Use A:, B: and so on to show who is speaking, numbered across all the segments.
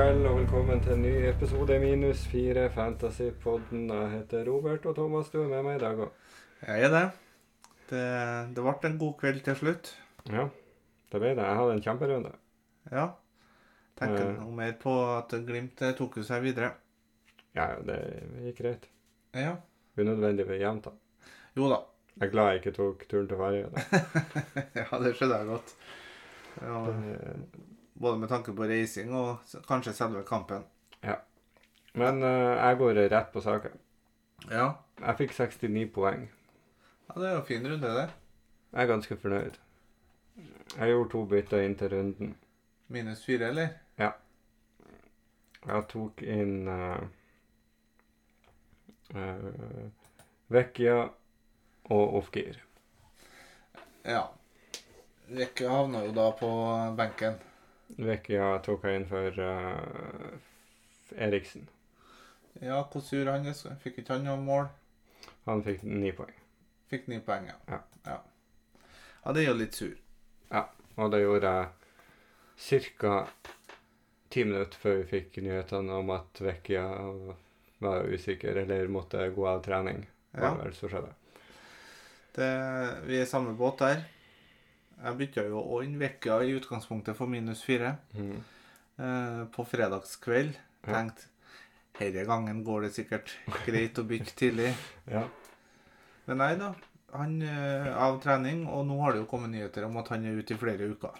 A: velkommen til en ny episode minus fire Fantasypodden. Jeg heter Robert, og Thomas, du er med meg i dag òg.
B: Jeg er det. det. Det ble en god kveld til slutt.
A: Ja, det ble det. Jeg hadde en kjemperunde.
B: Ja. Tenker
A: Eh.
B: noe mer på at Glimt eh, tok jo seg videre.
A: Ja, ja, det gikk greit.
B: Ja.
A: Unødvendig jevnt, da.
B: Jo da.
A: Jeg er glad jeg ikke tok turen til Farøya. da.
B: ja, det skjønner jeg godt. Ja,
A: Eh,
B: både med tanke på reising og s- kanskje selve kampen.
A: Men eh, jeg går rett på saken.
B: Ja.
A: Jeg fikk 69 poeng.
B: ja det er jo en fin runde, det.
A: Jeg er ganske fornøyd. Jeg gjorde to bytter inn til runden.
B: Minus fire, eller?
A: Jeg tok inn eh, eh, Vecchia og Off-Gear.
B: Ja. Rekke havna jo da på benken.
A: Vecchia tok jeg inn for eh, Eriksen.
B: Ja, hvor sur han er. Fikk ikke han noe mål?
A: Han fikk ni poeng.
B: Fikk ni poeng,
A: Ja.
B: ja. Ja, det er jo litt sur.
A: Og det gjorde jeg ca. ti minutter før vi fikk nyhetene om at Vecchia var usikker eller måtte gå av trening.
B: Ja.
A: Var det vel som skjedde.
B: Det, vi er i samme båt der. Jeg bytta jo også inn vekka i utgangspunktet for minus fire
A: Mm.
B: eh, på fredagskveld.
A: Ja.
B: Tenkte denne gangen går det sikkert greit å bytte tidlig.
A: Ja.
B: Men nei da. Han eh, av trening, og nå har det jo kommet nyheter om at han er ute i flere uker.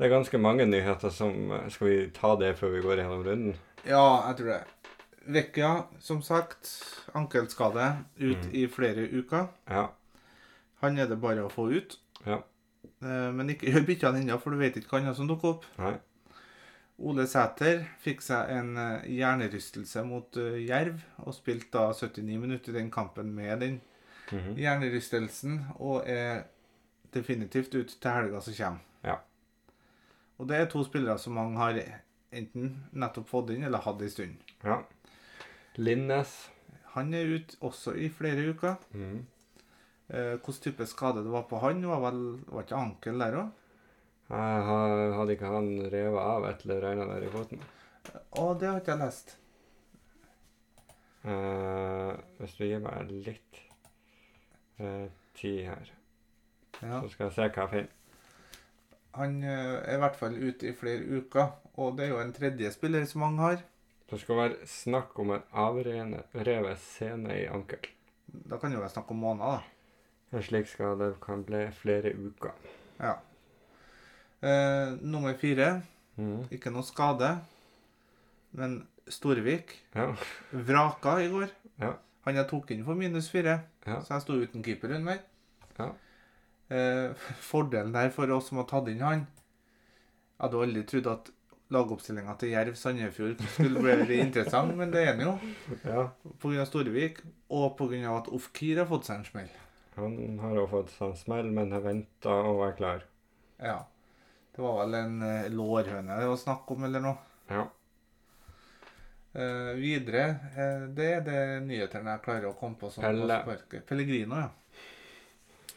A: Det er ganske mange nyheter som eh, Skal vi ta det før vi går gjennom runden?
B: Ja, jeg tror det. Vekka, som sagt, ankelskade ut
A: Mm.
B: i flere uker.
A: Ja.
B: Han er det bare å få ut.
A: Ja.
B: Eh, men ikke gjør byttene ennå, for du vet ikke hva annet som dukker opp.
A: Nei.
B: Ole Sæter fikk seg en eh, hjernerystelse mot eh, Jerv, og spilte da 79 minutter i den kampen med den
A: Mhm.
B: hjernerystelsen, og er definitivt ute til helga som kommer.
A: Ja.
B: Og det er to spillere som mange har enten nettopp fått inn, eller hatt en stund.
A: ja. Linnes.
B: Han er ute også i flere uker.
A: Mhm.
B: Eh, Hvilken type skade det var på han, var vel var ikke ankel der òg?
A: Jeg Eh, har- hadde ikke han revet av et eller annet der i foten?
B: Å, det har ikke jeg lest.
A: Eh, hvis du gir meg litt eh, tid her,
B: Ja.
A: så skal jeg se hva jeg finner.
B: Han eh, er i hvert fall ute i flere uker, og det er jo en tredje spiller som han har.
A: Det skal være snakk om en avrevet sene i ankel.
B: Da kan det jo være snakk om måneder, da.
A: En slik skade kan bli flere uker.
B: Ja. Eh, nummer fire,
A: Mm.
B: ikke noe skade, men Storvik
A: Ja.
B: vraka i går.
A: Ja.
B: Han jeg tok inn for minus fire,
A: Ja.
B: så jeg sto uten keeper under.
A: Ja.
B: Eh, fordelen der for oss som har tatt inn han Jeg hadde aldri trodd at lagoppstillinga til Jerv Sandefjord skulle bli interessant, men det er den jo.
A: ja.
B: Pga. Storvik, og pga. at Ofkir har fått seg en smell.
A: Han har jo fått sånn smell, men jeg venta og var klar.
B: Ja. Det var vel en eh, lårhøne det var snakk om, eller noe.
A: Ja.
B: Eh, videre, eh, det er det nyhetene jeg klarer å komme på. Sånn
A: Pelle.
B: på sparket. Pellegrino, ja.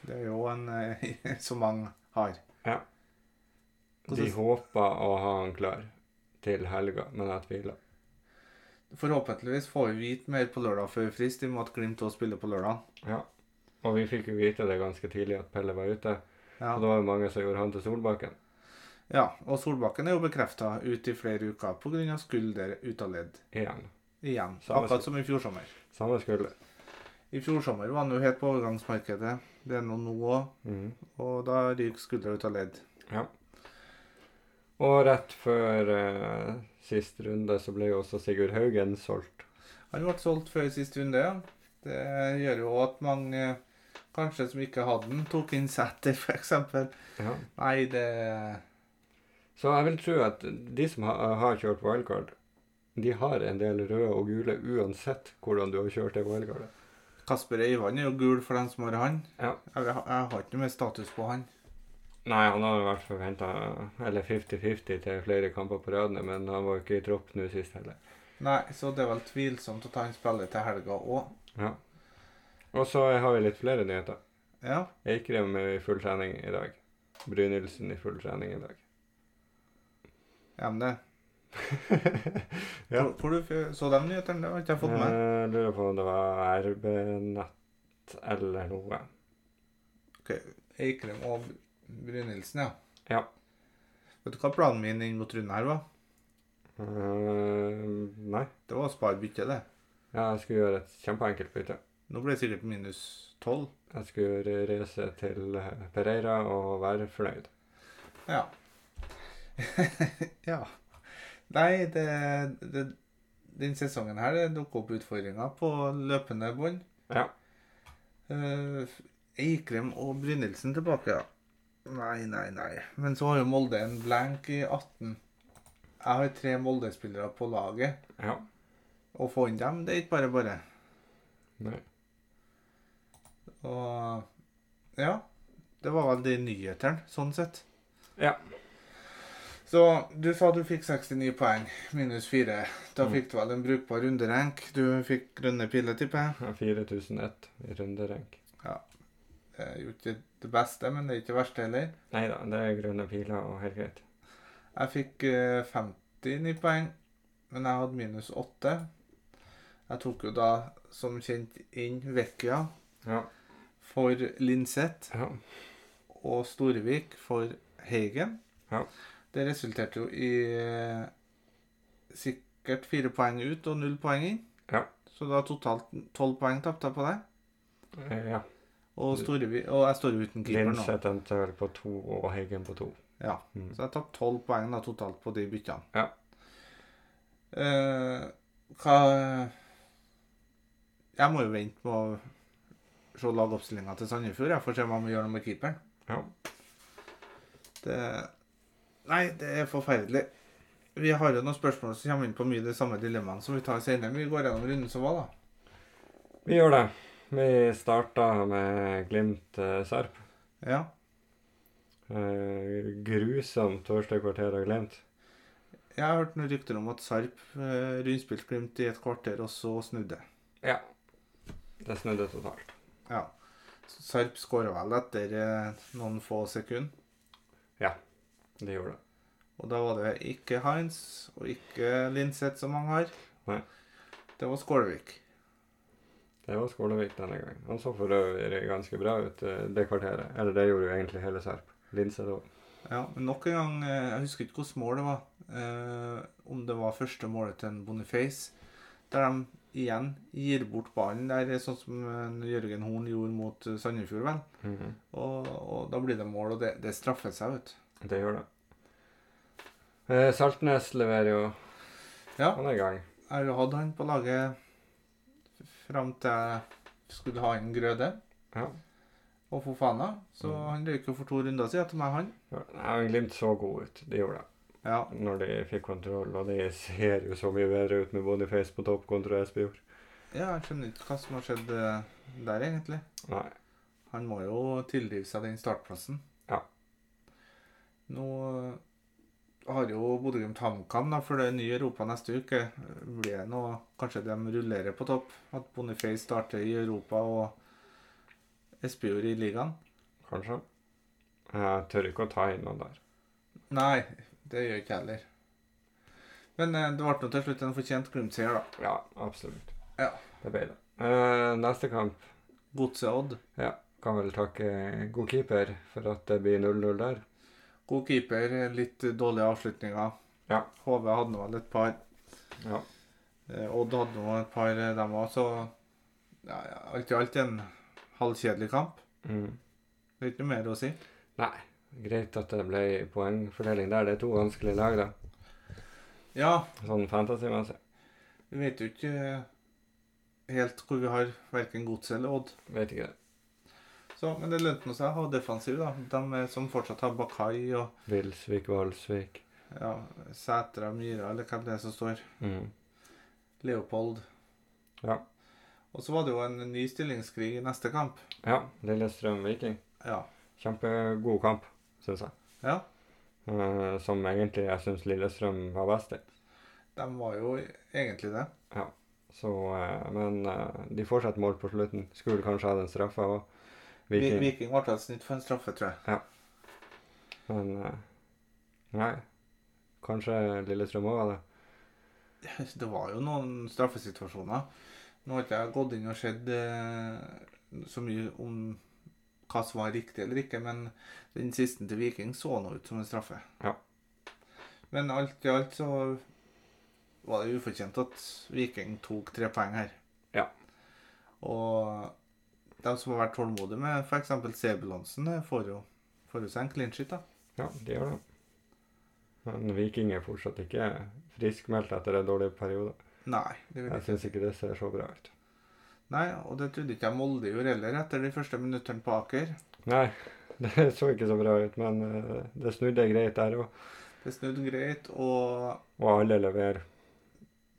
B: Det er jo en eh, som mange har.
A: De
B: Hvordan-
A: håpa å ha han klar til helga, men jeg tviler.
B: Forhåpentligvis får vi vite mer på lørdag før frist, i og med at Glimt også spiller på lørdag.
A: Og vi fikk jo vite det ganske tidlig at Pelle var ute,
B: Ja.
A: og det var jo mange som gjorde han til Solbakken.
B: ja, og Solbakken er jo bekrefta ut i flere uker pga. skulder ut av ledd
A: Igjen.
B: igjen.
A: Samme
B: Akkurat som i fjor sommer.
A: Samme skulder.
B: I fjor sommer var han jo helt på overgangsmarkedet. Det er nå nå òg,
A: Mhm.
B: og da ryker skuldra ut av ledd.
A: Og rett før eh, sist runde så ble jo også Sigurd Haugen solgt.
B: Han ble solgt før sist runde. ja. Det gjør jo at mange kanskje som ikke hadde den, tok inn Sæter, f.eks. Nei, det
A: Så jeg vil tro at de som ha, har kjørt wildcard, de har en del røde og gule uansett hvordan du har kjørt det wildcardet.
B: Kasper Øyvand er jo gul for dem som har han.
A: Ja.
B: Jeg, jeg har ikke noe mer status på han.
A: Nei, han har i hvert fall henta Eller 50-50 til flere kamper på radene, men han var ikke i tropp nå sist heller.
B: Nei, så det er vel tvilsomt at han spiller til helga òg.
A: Ja. Og så har vi litt flere nyheter.
B: Ja.
A: Eikrem er i full trening i dag. Brynildsen i full trening i dag.
B: er han det?
A: Ja.
B: Hvor- Hvor du f- så de nyhetene? Det har ikke jeg fått med.
A: Jeg Eh, lurer på om det var RB-nett eller noe.
B: Eikrem og Brynildsen, ja.
A: Ja.
B: Vet du hva planen min inn mot runden her var?
A: Eh, nei.
B: Det var å spare byttet, det.
A: Ja, jeg skulle gjøre et kjempeenkelt bytte.
B: Nå ble det sikkert minus 12.
A: Jeg skulle reise til eh, Pereira og være fornøyd.
B: Ja. ja. Nei, det, det Den sesongen her det dukker opp utfordringer på løpende bånd.
A: Ja.
B: Eh, Eikrem og Brynildsen tilbake, ja. Nei, nei, nei. Men så har jo Molde en blank i 18. Jeg har tre Molde-spillere på laget.
A: Ja.
B: Å få inn dem, det er ikke bare bare.
A: Nei.
B: Og ja. Det var vel de nyhetene, sånn sett.
A: Ja.
B: Så du sa du fikk 69 poeng, minus 4. Da
A: Mm.
B: fikk du vel en brukbar runderenk. Du fikk grønne piler, tipper jeg.
A: 4001 i runderenk.
B: Det er jo ikke det beste, men det er ikke det verste heller.
A: Nei da, det er grønne piler og helt greit.
B: Jeg fikk eh, 59 poeng, men jeg hadde minus 8. Jeg tok jo da, som kjent, inn Vecchia
A: Ja.
B: for Linseth
A: ja.
B: og Storvik for Heigen.
A: Ja.
B: Det resulterte jo i eh, sikkert fire poeng ut og null poeng inn.
A: Ja.
B: Så da totalt tolv poeng tapte jeg på deg.
A: Eh, ja.
B: Og, Storvik, og jeg står jo uten keeper nå.
A: Linseth endte vel på to og Heggen på to.
B: Ja.
A: Mm.
B: Så jeg har tapt 12 poeng da, totalt på de byttene.
A: Ja.
B: Eh, hva Jeg må jo vente med å se lagoppstillinga til Sandefjord jeg, for å se hva vi gjør noe med keeperen.
A: Ja.
B: Det Nei, det er forferdelig. Vi har jo noen spørsmål som kommer inn på mye de samme dilemmaene som vi tar senere. Vi går gjennom runden som var, da.
A: Vi gjør det. Vi starta med Glimt eh, Sarp.
B: Ja.
A: Eh, grusomt første kvarter av Glimt.
B: Jeg har hørt noen rykter om at Sarp eh, rundspilte Glimt i et kvarter, og så snudde.
A: Ja. Det snudde totalt.
B: Ja. Sarp skåra vel etter eh, noen få sekunder.
A: Det gjorde det.
B: Og da var det ikke Heinz og ikke Linseth som han har.
A: Nei.
B: Det var Skålevik.
A: Det var Skålevik denne gangen. Han så for øvrig ganske bra ut eh, det kvarteret. Eller det gjorde jo egentlig hele Sarp. Linseth òg.
B: Ja, men nok en gang, eh, jeg husker ikke hvilket mål det var. Eh, om det var første målet til en Boniface. Der de igjen gir bort ballen. Det er sånn som eh, Jørgen Horn gjorde mot eh, Sandefjord, vel. Og, og da blir det mål, og det, det straffer seg, vet du.
A: Det gjør det. Eh, Saltnes leverer jo.
B: Ja.
A: Han er i gang.
B: Jeg har jo hatt han på laget fram til jeg skulle ha inn Grøde
A: Ja.
B: og Fofana. Så
A: Mm.
B: han røyk jo for to runder siden til meg, han.
A: Ja, Nei, men Glimt så god ut. De gjorde det.
B: Ja,
A: Når de fikk kontroll. Og de ser jo så mye bedre ut med Boniface på topp kontra Espejord.
B: Ja, jeg skjønner ikke hva som har skjedd eh, der, egentlig.
A: Nei.
B: Han må jo tilrive seg den startplassen.
A: Ja.
B: Nå eh, har jo Bodø-Glimt HamKam da, for det er ny Europa neste uke. Blir det noe Kanskje de rullerer på topp? At Boniface starter i Europa og Espejord i ligaen?
A: Kanskje. Jeg tør ikke å ta inn noen der.
B: Nei, det gjør ikke jeg heller. Men eh, det ble nå til slutt en fortjent Glimt-seier, da.
A: Ja, absolutt.
B: Ja.
A: Det ble det. Eh, neste kamp
B: Godset Odd.
A: kan vel takke god keeper for at det blir 0-0 der.
B: God keeper, eh, litt dårlige avslutninger.
A: Ja.
B: HV hadde nå vel et par.
A: Ja.
B: Eh, Odd hadde nå et par, eh, dem òg, så ja, ja, alt i alt en halvkjedelig kamp.
A: Mm.
B: Det er ikke noe mer å si.
A: Nei. Greit at det ble poengfordeling der. Det er to vanskelige lag, da.
B: Ja,
A: Sånn fantasymessig.
B: vi vet jo ikke eh, helt hvor vi har verken Godset eller Odd.
A: Vet ikke det.
B: Så, men det lønte nå seg å ha defensiv, da. De eh, som fortsatt har Bakai og
A: Vilsvik, Valsvik.
B: ja, Sætra, Myra, eller hvem det er som står.
A: Mm.
B: Leopold.
A: Ja.
B: Og så var det jo en ny stillingskrig i neste kamp.
A: Ja. Lillestrøm Viking.
B: Ja.
A: Kjempegod kamp, syns jeg.
B: ja.
A: Eh, som egentlig jeg syns Lillestrøm var best i.
B: De var jo egentlig det.
A: Så, eh, men eh, de får seg et mål på slutten. Skulle kanskje hatt en straffe òg.
B: Viking,
A: Viking.
B: Viking ble et snitt for en straffe, tror jeg.
A: Men eh, Nei. Kanskje Lillestrøm òg var det.
B: Det var jo noen straffesituasjoner. Nå har ikke jeg gått inn og sett eh, så mye om hva som var riktig eller ikke, men den siste til Viking så nå ut som en straffe.
A: Ja.
B: Men alt i alt så var det ufortjent at Viking tok tre poeng her.
A: Ja.
B: Og de som har vært tålmodige med f.eks. C-balansen, eh, får jo, får jo seg en clean shit, da.
A: Ja, de gjør det. Men Viking er fortsatt ikke friskmeldt etter en dårlig periode.
B: Nei, det vil
A: Jeg
B: jeg
A: syns ikke det ser så bra ut.
B: Nei, og det trodde ikke jeg Molde gjorde heller, etter de første minuttene på Aker.
A: Nei, det så ikke så bra ut, men eh, det snudde greit der òg.
B: Det snudde greit, og
A: Og alle leverer.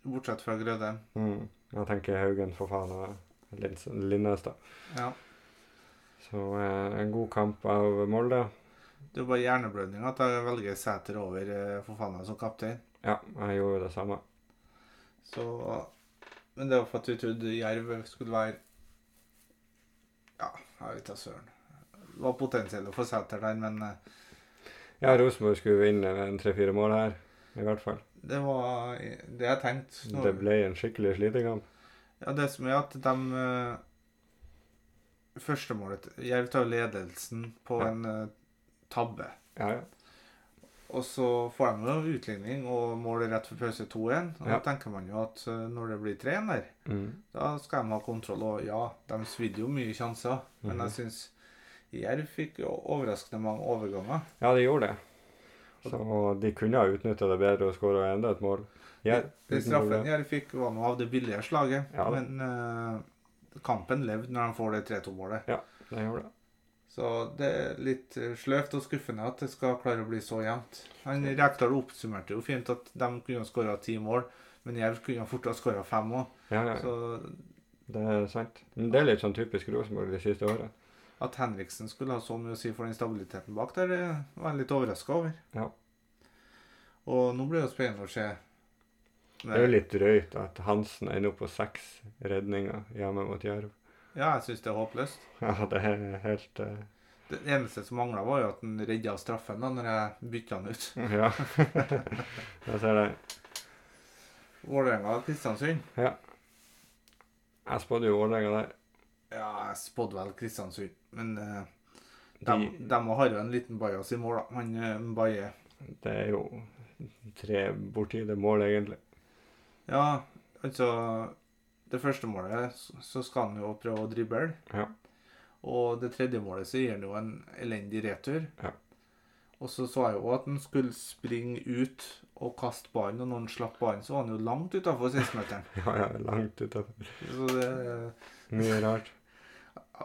B: bortsett fra Grødem.
A: Mm. Jeg tenker Haugen, for faen, og Lins- Linnestad.
B: Ja.
A: Så eh, en god kamp av Molde.
B: Det er bare hjerneblødning at jeg velger Sæter over eh, Fofana som kaptein.
A: Ja, jeg gjorde det samme.
B: Så, men det var for at vi trodde Jerv skulle være Ja, jeg vet da søren. Det var potensiell å få Sæter der, men eh,
A: Ja, Rosenborg skulle vinne med en tre-fire mål her, i hvert fall.
B: det var det jeg tenkte. Nå-
A: Det ble en skikkelig slitekamp.
B: Ja, det som er at de eh, Førstemålet Jerv tar jo ledelsen på
A: Ja.
B: en eh, tabbe.
A: Ja, ja.
B: Og så får de jo utligning og mål rett før pause 2-1. Og da
A: Ja.
B: tenker man jo at eh, når det blir 3-1 der,
A: Mm.
B: da skal de ha kontroll. Og ja, de svidde jo mye sjanser, men
A: Mhm.
B: jeg syns Jerv fikk jo overraskende mange overganger.
A: ja de gjorde det. Så, og de kunne ha utnytta det bedre og skåra enda et mål. Ja,
B: Den
A: uten
B: straffen
A: problem.
B: Jerv fikk, var nå av det billige slaget,
A: Ja.
B: men eh, kampen levde når de får det 3-2-målet.
A: De gjorde det.
B: Så det er litt eh, sløvt og skuffende at det skal klare å bli så jevnt. Han Rekdal oppsummerte jo fint at de kunne ha skåra ti mål, men Jerv kunne ha fort ha skåra fem òg.
A: Ja, ja,
B: Så
A: det er sant. Men det er litt sånn typisk Rosenborg de siste åra.
B: At Henriksen skulle ha så mye å si for den stabiliteten bak der, eh, var jeg litt overraska over.
A: Ja.
B: Og nå blir det jo spennende å se.
A: Det er jo litt drøyt at Hansen ender opp på seks redninger hjemme mot Jerv.
B: Ja, jeg syns det er håpløst.
A: Ja, det er helt eh,
B: Det eneste som mangla, var jo at han redda straffen da når jeg bytta han ut.
A: Ja. Jeg ser det.
B: Vålerenga Kristiansund.
A: Jeg spådde jo Vålerenga der.
B: Ja, jeg spådde vel Kristiansund, men eh, de,
A: De,
B: de har jo en liten bajas i mål, da. Han eh, Baye.
A: det er jo tre bortide mål, egentlig.
B: Ja, altså Det første målet, så- så skal han jo prøve å drible.
A: Ja.
B: Og det tredje målet så gir han jo en elendig retur.
A: Ja.
B: Og så så jeg jo at han skulle springe ut og kaste ballen, og når han slapp ballen, så var han jo langt utafor 16-meteren.
A: Ja, ja, langt utafor.
B: Så det
A: Mye rart.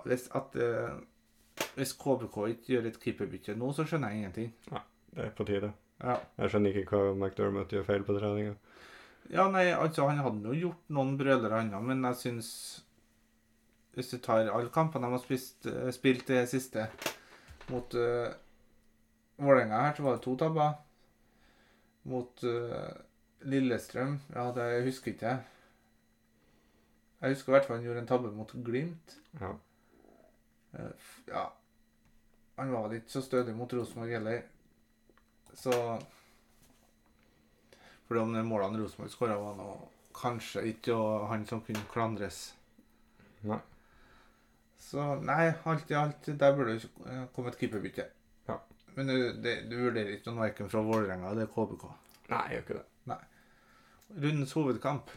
B: Hvis, at, eh, hvis KBK ikke gjør et keeperbytte nå, så skjønner jeg ingenting.
A: Det er på tide.
B: Ja.
A: Jeg skjønner ikke hva McDermott gjør feil på treninga.
B: Ja, nei, altså Han hadde jo gjort noen brølere annet, men jeg syns Hvis du tar alle kampene de har spist, eh, spilt det siste mot uh, Vålerenga her, så var det to tabber. Mot eh, Lillestrøm Ja, det jeg husker ikke jeg. Jeg husker i hvert fall han gjorde en tabbe mot Glimt.
A: Ja.
B: Eh, f- ja Han var vel ikke så stødig mot Rosenborg heller. Så For de målene Rosenborg skåra, var nå kanskje ikke å- han som kunne klandres.
A: Nei.
B: Så nei, alt i alt, der burde det eh, komme et keeperbytte.
A: Ja.
B: Men du, det, du vurderer ikke noen verken fra Vålerenga eller KBK.
A: Nei, jeg gjør ikke det.
B: Rundens hovedkamp.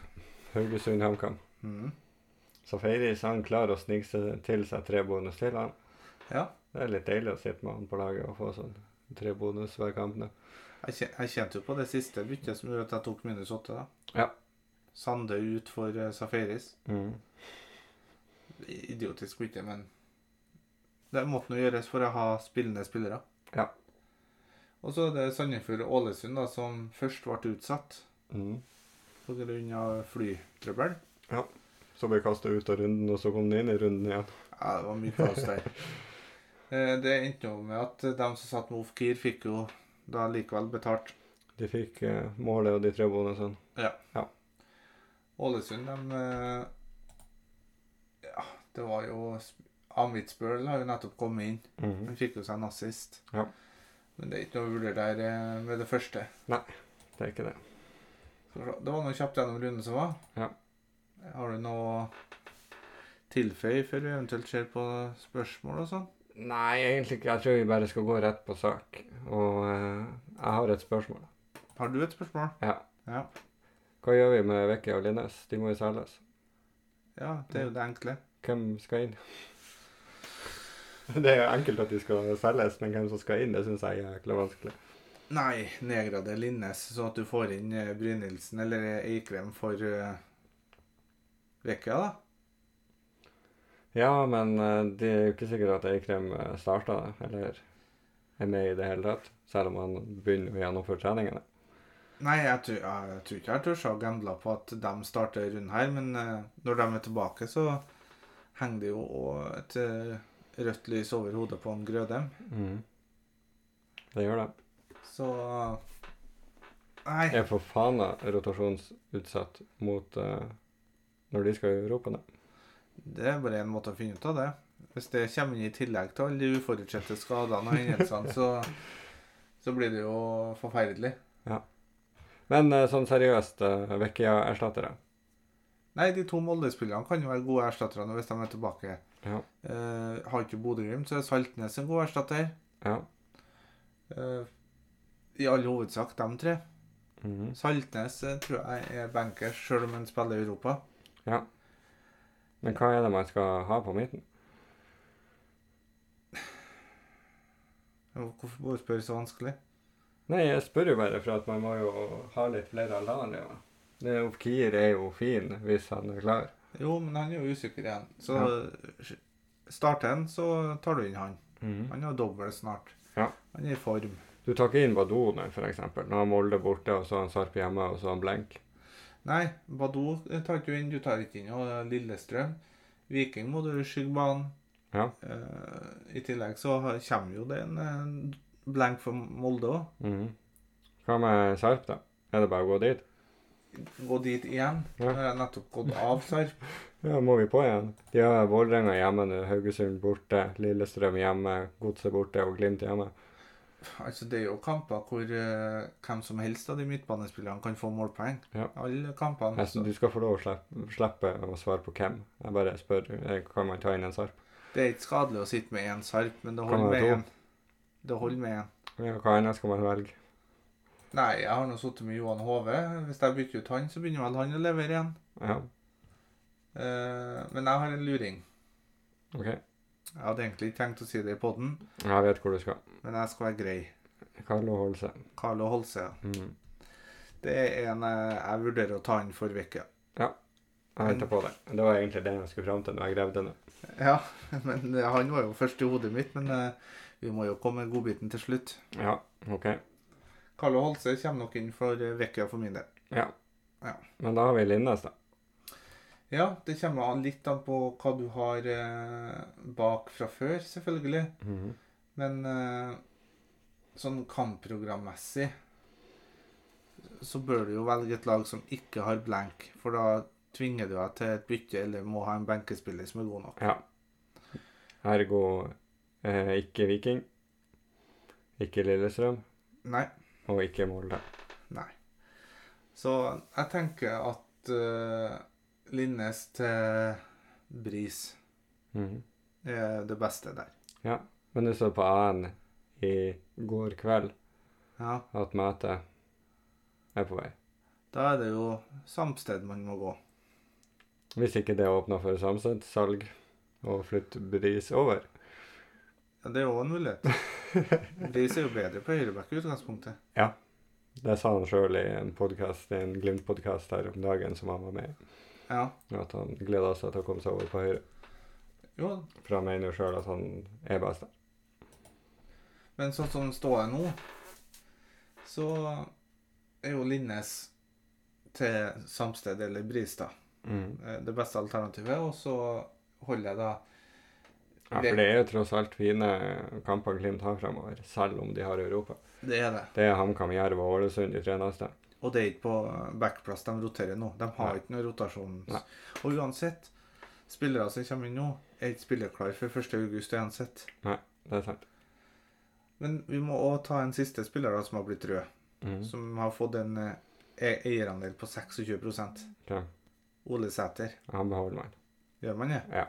A: Haugesund HamKam.
B: Mhm.
A: Så Feiris han klarer å snike seg til seg tre bonus til. han.
B: Ja.
A: Det er litt deilig å sitte med han på laget og få sånn tre bonus hver kamp. nå.
B: Jeg, kjen, jeg kjente jo på det siste byttet som gjorde at jeg tok minus åtte. da.
A: Ja.
B: Sande ut for eh, Safaris.
A: Mm.
B: idiotisk mye, men det måtte nå gjøres for å ha spillende spillere.
A: Ja.
B: Og så er det Sandefjord og Ålesund da, som først ble utsatt
A: Mm.
B: pga. flytrøbbel.
A: Så ble kasta ut av runden, og så kom de inn i runden igjen.
B: Ja, det var mye kaos der. Eh, det endte jo med at de som satt med Ofkir, fikk jo da likevel betalt.
A: De fikk eh, målet og de tre bonusene.
B: Ålesund, de eh, Ja, det var jo sp- Amitsbøl har jo nettopp kommet inn.
A: Mm.
B: Han fikk jo seg en assist.
A: Ja.
B: Men det er ikke noe å vurdere der eh, med det første.
A: Nei. Det er ikke det.
B: Skal vi se. Det var noe kjapt gjennom runden som var.
A: Ja.
B: Har du noe å tilføye før vi eventuelt ser på spørsmål og sånn?
A: Nei, egentlig ikke. Jeg tror vi bare skal gå rett på sak. Og eh, jeg har et spørsmål.
B: Har du et spørsmål?
A: Ja.
B: Ja.
A: Hva gjør vi med Vekke og Linnes? De må jo selges.
B: Ja, det er jo det enkle.
A: Hvem skal inn? Det er jo enkelt at de skal selges, men hvem som skal inn, det syns jeg er jækla vanskelig.
B: Nei, nedgrader Linnes, sånn at du får inn eh, Brynildsen eller Eikrem for eh, Vekka, da.
A: Ja, men eh, det er jo ikke sikkert at Eikrem eh, starta det, eller er med i det hele tatt. Selv om han begynner å gjennomføre treningene.
B: Nei, jeg tror, ja, jeg tror ikke jeg tør å gamble på at de starter runden her, men eh, når de er tilbake, så henger det jo også et eh, rødt lys over hodet på en Grødem.
A: Mm. Det gjør det.
B: Så Nei.
A: Er for faen da rotasjonsutsatt mot eh, når de skal i Europa nå?
B: Det er bare én måte å finne ut av det. Hvis det kommer inn i tillegg til alle de uforutsette skadene og hendelsene, så, så blir det jo forferdelig.
A: Men eh, sånn seriøst, uh, Vecchia erstatter det.
B: Nei, de to Molde-spillerne kan jo være gode erstattere nå hvis de er tilbake.
A: Ja.
B: Eh, har ikke Bodø-Glimt, så er Saltnes en god erstatter.
A: Ja.
B: Eh, I all hovedsak de tre.
A: Mhm.
B: Saltnes eh, tror jeg er bankers, sjøl om han spiller i Europa.
A: Men hva er det man skal ha på midten?
B: Hvorfor må du spørre så vanskelig?
A: Nei, jeg spør jo bare for at man må jo ha litt flere alternativer. Det er jo, Kier er jo fin hvis han er klar.
B: Jo, men han er jo usikker igjen. Så starter han, så tar du inn han. Han har dobbel snart.
A: Mm. Ja.
B: Han er i form.
A: Du tar ikke inn Badoner, for eksempel. Nå har Molde borte, og så har han Sarp hjemme, og så har han Blenk.
B: Nei, Badou eh, tar ikke du inn. Du tar ikke inn og eh, Lillestrøm. Viking må du skygge banen.
A: Ja.
B: Eh, I tillegg så har- kommer jo det en eh, blank for Molde òg.
A: Mhm. Hva med Sarp, da? Er det bare å gå dit?
B: Gå dit igjen.
A: Ja.
B: Nå har jeg nettopp gått av Sarp.
A: Ja, må vi på igjen? De har Vålerenga hjemme nå, Haugesund borte, Lillestrøm hjemme, Godset borte og Glimt hjemme.
B: Altså, det er jo kamper hvor eh, hvem som helst av de midtbanespillerne kan få målpoeng.
A: Ja.
B: Alle kampene.
A: Jeg
B: så
A: synes Altså, du skal få lov å slippe, slippe å svare på hvem. Jeg bare spør, eh, kan man ta inn en sarp?
B: Det er ikke skadelig å sitte med én Sarp, men det
A: Kan
B: holder
A: man ha
B: med
A: to?
B: én. Det holder med én.
A: Ja, hva annet skal man velge?
B: Nei, jeg har nå sittet med Johan Hove. Hvis jeg bytter ut han, så begynner vel han å levere igjen.
A: Ja,
B: Eh, men jeg har en luring.
A: ok.
B: Jeg hadde egentlig ikke tenkt å si det i poden,
A: Jeg vet hvor du skal.
B: men jeg skal være grei.
A: Carlo Holse.
B: Carlo Holse.
A: Mm.
B: Det er en eh, jeg vurderer å ta inn for uka.
A: Jeg venter på det. Det var egentlig det jeg skulle fram til når jeg gravde det.
B: Ja, men eh, han var jo først i hodet mitt, men eh, vi må jo komme godbiten til slutt.
A: Ja, ok.
B: Carlo Holse kommer nok inn for uka for min del.
A: Ja.
B: Ja.
A: Men da har vi Linnes, da.
B: Ja, det kommer an litt an på hva du har eh, bak fra før, selvfølgelig.
A: Mhm.
B: Men eh, sånn kampprogrammessig så bør du jo velge et lag som ikke har blank, for da tvinger du deg til et bytte eller må ha en benkespiller som er god nok.
A: Ja. Ergo eh, ikke Viking. Ikke Lillestrøm.
B: Nei.
A: Og ikke Molde.
B: Så jeg tenker at eh, Linnes til Bris
A: Mhm.
B: er det beste der.
A: Men du så på AN i går kveld
B: Ja,
A: at møtet er på vei.
B: da er det jo samsted man må gå.
A: Hvis ikke det åpner for samstemt salg og flytt Bris over.
B: Ja, det er jo en mulighet. Bris er jo bedre på høyreback i utgangspunktet.
A: Det sa han sjøl i en podcast, en Glimt-podkast her om dagen som han var med i.
B: Ja.
A: At han gleda seg til å komme seg over på høyre.
B: Jo,
A: For han mener jo sjøl at han er best der.
B: Men sånn som det står her nå, så er jo Linnes til Samsted eller Bristad
A: Mm.
B: eh, det beste alternativet. Og så holder jeg da
A: Ja, for det er jo tross alt fine kamper Glimt har fremover, selv om de har Europa.
B: Det er det.
A: Det er HamKam, Jerv og Ålesund de tre neste.
B: Og det er ikke på backplass de roterer nå. De har
A: Nei.
B: ikke noe rotasjon.
A: Nei.
B: Og uansett, spillere som kommer inn nå, er ikke spillerklare før 1.8 uansett.
A: Det er sant.
B: Men vi må òg ta en siste spiller da, som har blitt rød.
A: Mm.
B: som har fått en eh, e- eierandel på 26
A: Hvem?
B: Ole Sæter.
A: Han beholder man.
B: Gjør man det?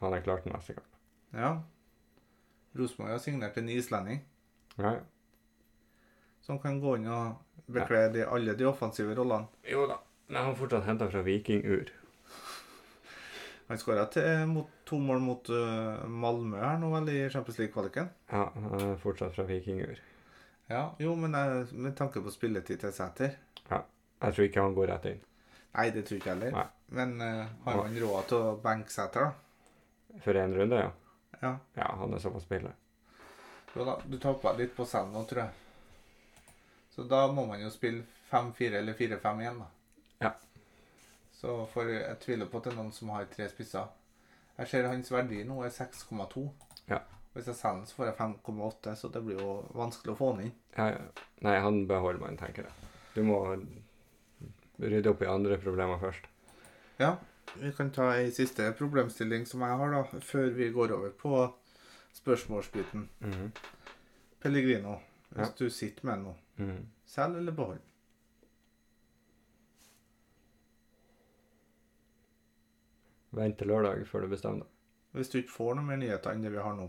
A: Han er klar til neste kamp.
B: Ja. Rosenborg har signert en islending
A: Ja, ja.
B: som kan gå inn og bekle de, alle de offensive rollene.
A: Jo da. Men han er fortsatt henta fra Vikingur.
B: Han skåra to mål mot eh, Malmö her nå, vel, i Champions League-kvaliken.
A: Ja, han er fortsatt fra Vikingur.
B: Ja, jo, men eh, med tanke på spilletid til Sæter
A: Jeg tror ikke han går rett inn.
B: Nei, det tror jeg ikke heller.
A: Nei.
B: Men eh, har man råd til å benke Sæter, da?
A: For én runde, ja.
B: Ja.
A: Ja, han er såpass spiller.
B: Jo da, du tappa litt på selv nå, tror jeg. Så da må man jo spille 5-4 eller 4-5 igjen, da.
A: Ja.
B: Så for jeg tviler på at det er noen som har tre spisser. Jeg ser hans verdi nå er 6,2.
A: Ja.
B: Hvis jeg selger den, så får jeg 5,8, så det blir jo vanskelig å få den inn.
A: Ja, ja. Nei, han beholder man, tenker jeg. Du må rydde opp i andre problemer først.
B: Ja, vi kan ta ei siste problemstilling som jeg har, da, før vi går over på spørsmålsbiten.
A: Mhm.
B: Pellegrino, hvis
A: Ja.
B: du sitter med noe,
A: Mhm.
B: selg eller behold?
A: Vent til lørdag før du bestemmer deg.
B: Hvis du ikke får noe mer nyheter enn det vi har nå.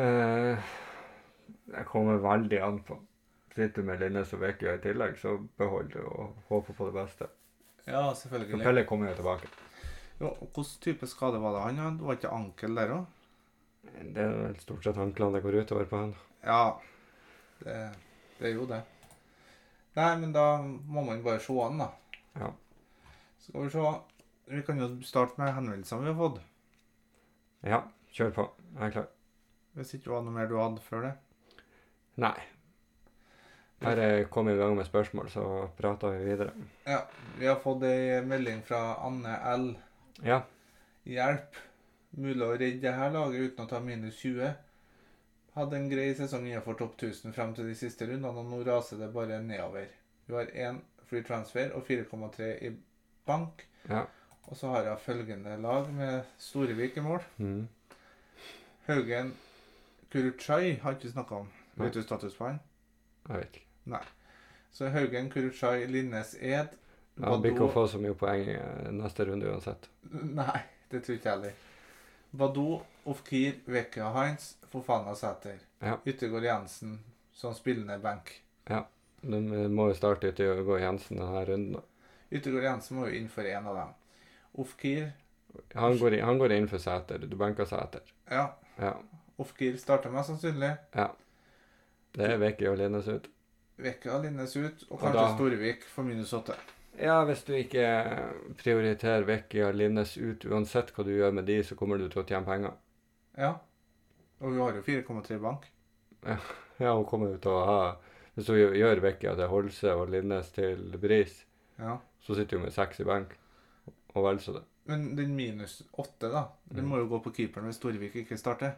A: Eh, Det kommer veldig an på. Sitter du med Linnes og Vekia i tillegg, så behold det og håper på det beste.
B: Ja,
A: For
B: selvfølgelig.
A: Pelle kommer jo tilbake.
B: Ja, og Hvilken type skade var det han hadde? Det var ikke ankel der òg?
A: Det er vel stort sett anklene det går utover på han.
B: Ja, det, det er jo det. Nei, men da må man bare se an, da.
A: Ja.
B: Skal vi se. Vi kan jo starte med henvendelsene vi har fått.
A: Ja, kjør på. Jeg er klar.
B: Hvis ikke det var noe mer du hadde før det.
A: Nei. Bare kom i gang med spørsmål, så prater vi videre.
B: Ja, Vi har fått ei melding fra Anne L.
A: Ja,
B: Hjelp. Mulig å redde det her laget uten å ta minus 20. Hadde en grei sesong innenfor topp 1000 frem til de siste rundene, og nå raser det bare nedover. Vi har én free transfer og 4,3 i bank.
A: ja.
B: Og så har jeg følgende lag med Storevik i mål.
A: Mm.
B: Haugen Kuruchai har ikke vi snakka om.
A: Nei.
B: Vet du status på han?
A: Jeg vet ikke.
B: Så Haugen Kuruchai Linnes Ed.
A: Han blir ikke å
B: Badou-
A: få så mye poeng eh, neste runde uansett.
B: Nei, det tror ikke jeg heller. Badou, Ofkir, Vekka Heinz, Fofana Sæter.
A: Ja.
B: Yttergård Jensen som spillende benk.
A: De eh, må jo starte ut i å gå Jensen denne runden. da.
B: Yttergård Jensen må jo inn for én av dem. Ofkir
A: Han går, i- han går inn for Sæter. Du benker Sæter.
B: ja,
A: Ja.
B: Ofkir starter mest sannsynlig.
A: Det er Vicky og Linnes ut.
B: Vekka Linnes ut, og
A: Og
B: kanskje
A: da-
B: Storvik for minus åtte.
A: Ja, hvis du ikke prioriterer Vicky og Linnes ut, uansett hva du gjør med de, så kommer du til å tjene penger.
B: Ja. Og vi har jo 4,3 bank.
A: Ja, hun kommer jo til å ha Hvis hun gjør- gjør Vicky til Holse og Linnes til Bris,
B: Ja.
A: så sitter hun med seks i benk. Og vel så det.
B: Men den minus åtte, da, den
A: Mm.
B: må jo gå på keeperen hvis Storvik ikke starter.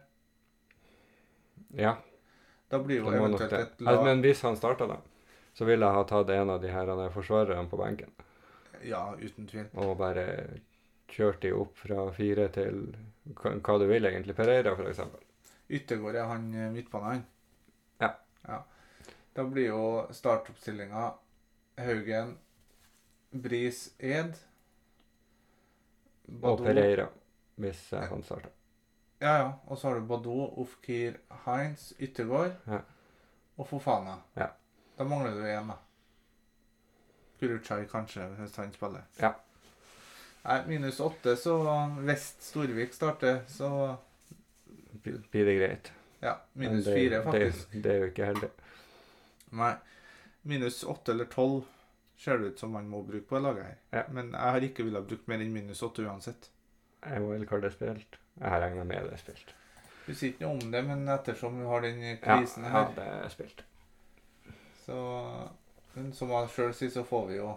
A: Ja,
B: Da blir
A: det
B: jo
A: må nok
B: eventuelt
A: det.
B: et
A: Altså,
B: lag
A: men hvis han starta, da, så ville jeg ha tatt en av de her han er forsvarerne på benken
B: Ja, uten tvil.
A: og bare kjørt de opp fra fire til hva hva du vil, egentlig. Pereira, for eksempel.
B: Yttergård er han eh, midtbanen, han.
A: Ja.
B: ja. Da blir jo startoppstillinga Haugen, Bris, Ed
A: Og
B: Badou-
A: Pereira, hvis eh, han starter.
B: Ja, ja. Og så har du Badou, Ofkir, Heinz, Yttergård
A: Ja.
B: og Fofana.
A: Ja.
B: Da mangler du én, da. Kuruchai kanskje, hvis han spiller.
A: Ja.
B: Nei, minus åtte, så hvis Storvik starter, så
A: Blir det greit.
B: Ja, minus
A: Men det-
B: fire, faktisk.
A: Det, det er jo ikke heldig.
B: Nei. Minus åtte eller tolv ser det ut som man må bruke på det laget her.
A: Ja.
B: Men jeg har ikke villet bruke mer enn minus åtte uansett.
A: Jeg må vel kalle det spilt. Jeg har regna med det er spilt.
B: Du sier ikke noe om det, men ettersom vi har den
A: Ja,
B: krisen
A: ja,
B: her,
A: det er spilt.
B: så men Som han sjøl sier, så får vi jo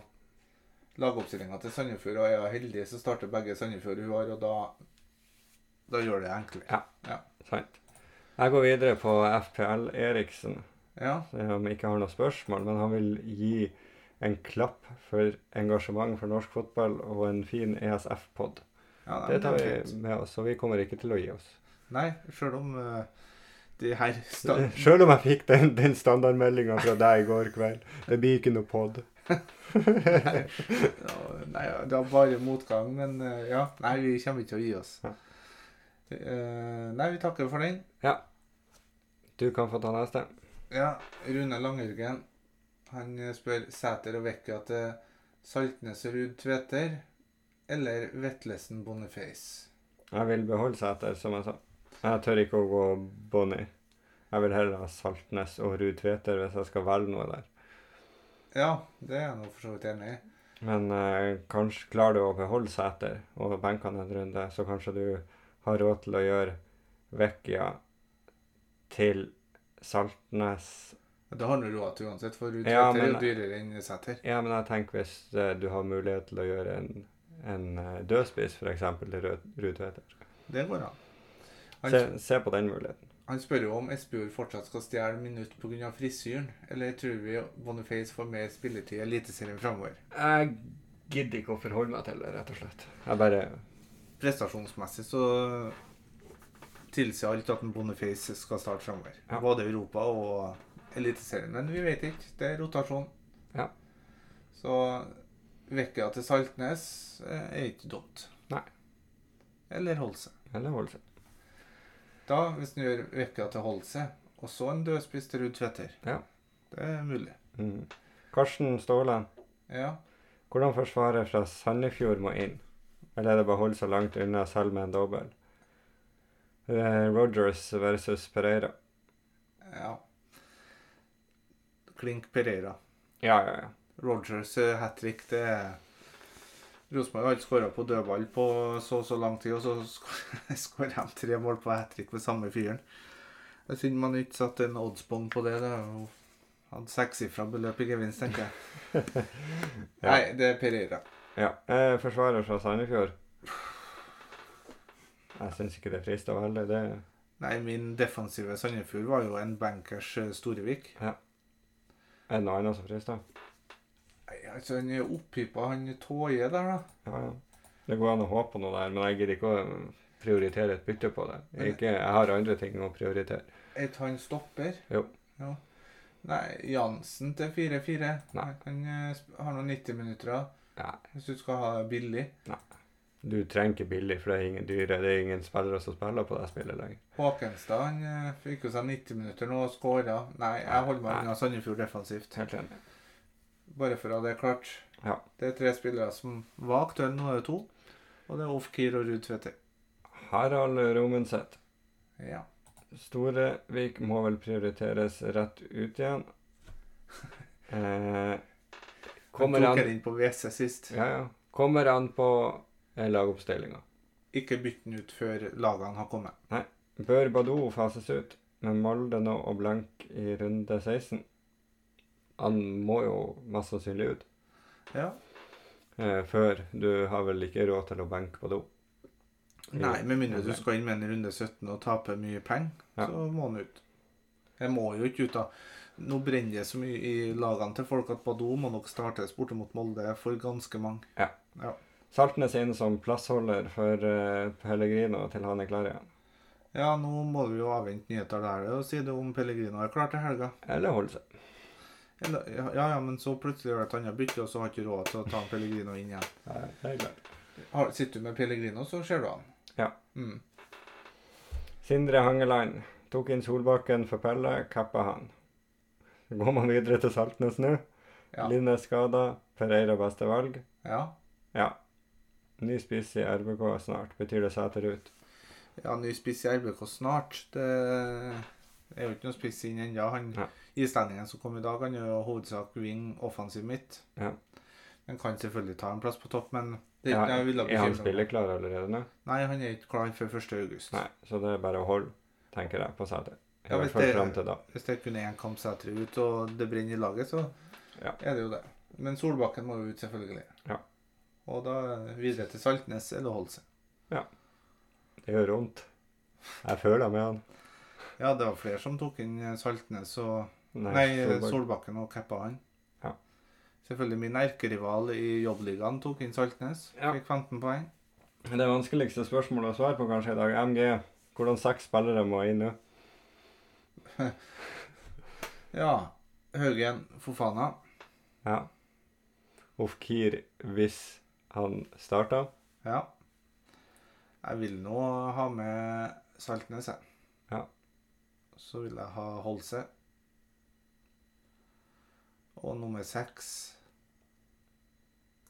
B: lagoppstillinga til Sandefjord. Og er jeg heldig, så starter begge Sandefjord hun har, og da Da gjør det enklere.
A: Sant. Jeg går videre på FPL Eriksen,
B: Ja.
A: som ikke har noe spørsmål, men han vil gi en klapp for engasjement for norsk fotball og en fin ESF-pod.
B: ja nei,
A: Det
B: men
A: tar
B: er fint.
A: vi med oss, og vi kommer ikke til å gi oss.
B: Nei, sjøl om eh, riktig her. Stand.
A: Sjøl om jeg fikk den, den standardmeldinga fra deg i går kveld. Det blir ikke noe pod.
B: Ja, Nei, ja, det var bare motgang, men eh, ja. Nei, vi kommer ikke til å gi oss.
A: Ja.
B: Eh, Nei, vi takker for den.
A: Du kan få ta neste.
B: Ja, Rune Langhaugen. Han eh, spør Sæter og Vekka til Saltnes og Ruud Tveter eller Vetlesen Boniface.
A: Jeg vil beholde seter, som jeg sa. Jeg tør ikke å gå Bonnie. Jeg vil heller ha Saltnes og Ruud Tveter hvis jeg skal velge noe der.
B: Ja, det er jeg nå for så vidt enig i.
A: Men eh, kanskje klarer du å beholde seter og benkene en runde, så kanskje du har råd til å gjøre Vekkia til Saltnes
B: Men Da har du råd til uansett, for Ruud
A: Ja,
B: Tveter er jo
A: men-
B: dyrere enn Sæter.
A: Ja, men jeg tenker hvis eh, du har mulighet til å gjøre en, en eh, dødspiss, f.eks. til Rød- Ruud Tveter.
B: Det går an.
A: Se,
B: Han,
A: se på den muligheten.
B: han spør jo om Espejord fortsatt skal stjele minutt pga. frisyren, eller tror vi Boniface får mer spilletid i Eliteserien framover?
A: Jeg gidder ikke å forholde meg til det, rett og slett. Jeg bare
B: Prestasjonsmessig så tilsier alt at en Boniface skal starte framover.
A: Ja.
B: Både Europa og Eliteserien. Men vi vet ikke. Det er rotasjon.
A: Ja.
B: Så Vekka til Saltnes eh, er ikke dumt.
A: Nei.
B: Eller Holse.
A: Eller holde seg.
B: Da, hvis du gjør vekka til Holse, og så en dødspiss til Ruud Tveter
A: Ja.
B: Det er mulig.
A: Mm. Karsten Ståle,
B: Ja.
A: hvordan forsvaret fra Sandefjord må inn? Eller er det bare å holde seg langt unna selv med en dobbel? Eh, Rogers versus Pereira.
B: ja. Klink Pereira.
A: Ja, ja, ja.
B: Rogers hat trick, det er Rosenborg har skåra på dødball på så og så lang tid, og så skåra de tre mål på hat trick med samme fyren. Det er synd man ikke satte en oddsbong på det. det er jo- Hadde sekssifra beløp i gevinst, tenker jeg.
A: Ja.
B: Nei, det er Pereira.
A: ja. Eh, forsvaret fra Sandefjord? Jeg syns ikke det frister å velge. Det
B: Nei, min defensive Sandefjord var jo en bankers eh, Storevik.
A: er det noe annet som frister.
B: Nei, altså Han er opphippa, han Tåje der, da.
A: Ja, ja. Det går an å håpe på noe der, men jeg gidder ikke å mm, prioritere et bytte på det. Jeg, ikke, jeg har andre ting å prioritere.
B: Et han stopper.
A: Jo.
B: Ja. Nei, Jansen til 4-4.
A: Nei.
B: Han eh, sp- har noen 90 minutter. da.
A: Nei.
B: Hvis du skal ha billig.
A: Du trenger ikke billig, for det er ingen dyre. Det er ingen spillere som spiller på det spillet lenger.
B: Håkenstad han eh, fikk jo seg 90 minutter nå og skåra. Nei, jeg holder meg
A: Nei.
B: unna Sandefjord defensivt.
A: Helt enig.
B: Bare for å ha det klart.
A: Ja.
B: Det er tre spillere som var aktuelle, nå er det to. Og det er Ofkir og Ruud Tvedte.
A: Harald Romundset.
B: Ja.
A: Storevik må vel prioriteres rett ut igjen. Eh,
B: Kommer
A: kommer
B: tok
A: han
B: han inn på WC sist.
A: Ja, ja. Kommer han på eh, lagoppstillinga?
B: Ikke bytt den ut før lagene har kommet.
A: Bør Badou fases ut med Molde nå og blank i runde 16? Han må jo mest sannsynlig ut.
B: Ja.
A: Eh, før du har vel ikke råd til å benke Badou.
B: Nei, med mindre du
A: Nei.
B: skal inn med en runde 17 og tape mye penger,
A: Ja.
B: så må han ut. Jeg må jo ikke ut, da. Nå brenner det så mye i lagene til folk at Badou må nok startes borte mot Molde for ganske mange.
A: Saltnes inn som plassholder for eh, Pellegrino til han er klar igjen.
B: Ja, nå må vi jo avvente nyheter der og si det om Pellegrino er klar til helga.
A: Eller holde seg.
B: Eller, ja, ja, men så plutselig gjør det et annet bytte, og så har ikke råd til å ta en Pellegrino inn igjen.
A: Nei, det er klart.
B: Har, sitter du med Pellegrino, så ser du han.
A: Ja.
B: Mm.
A: Sindre Hangeland tok inn Solbakken for Pelle, kappa han. Går man videre til Saltnes nå?
B: Ja.
A: Linne skada, Pereira beste valg.
B: ja.
A: Ny spiss i RBK snart, betyr det Sæter ut?
B: Ja, ny spiss i RBK snart. Det er jo ikke noen spiss inn ennå. Han
A: Nei.
B: islendingen som kom i dag, han er jo hovedsak wing offensiv midt.
A: Ja.
B: Han kan selvfølgelig ta en plass på topp, men det er
A: Ja,
B: ikke noe jeg
A: Er
B: ville
A: han
B: bekymre meg om.
A: spilleklar allerede nå?
B: Nei, han er ikke klar før 1. august.
A: Nei, så det er bare å holde, tenker jeg, på Sæter. I
B: Ja, hvis
A: hvert fall
B: det-
A: frem til da.
B: Hvis det er kun én kamp Sætre ut, og det brenner i laget, så
A: Ja.
B: er det jo det. Men Solbakken må jo ut, selvfølgelig.
A: Ja.
B: Og da videre til Saltnes eller Holse.
A: Det gjør vondt. Jeg føler med han.
B: Ja, det var flere som tok inn Saltnes og
A: Nei,
B: Nei,
A: Solbakken.
B: Solbakken og cappa han.
A: Ja.
B: Selvfølgelig min erkerival i jobbligaen tok inn Saltnes.
A: Ja.
B: Fikk 15 poeng.
A: Det vanskeligste spørsmålet å svare på kanskje i dag, MG. Hvordan seks spillere må inn nå?
B: Ja. Haugen Fofana.
A: Ja. Ofkir, hvis han starta.
B: Ja. Jeg vil nå ha med Saltnes, jeg.
A: Ja.
B: Så vil jeg ha Holse. Og nummer seks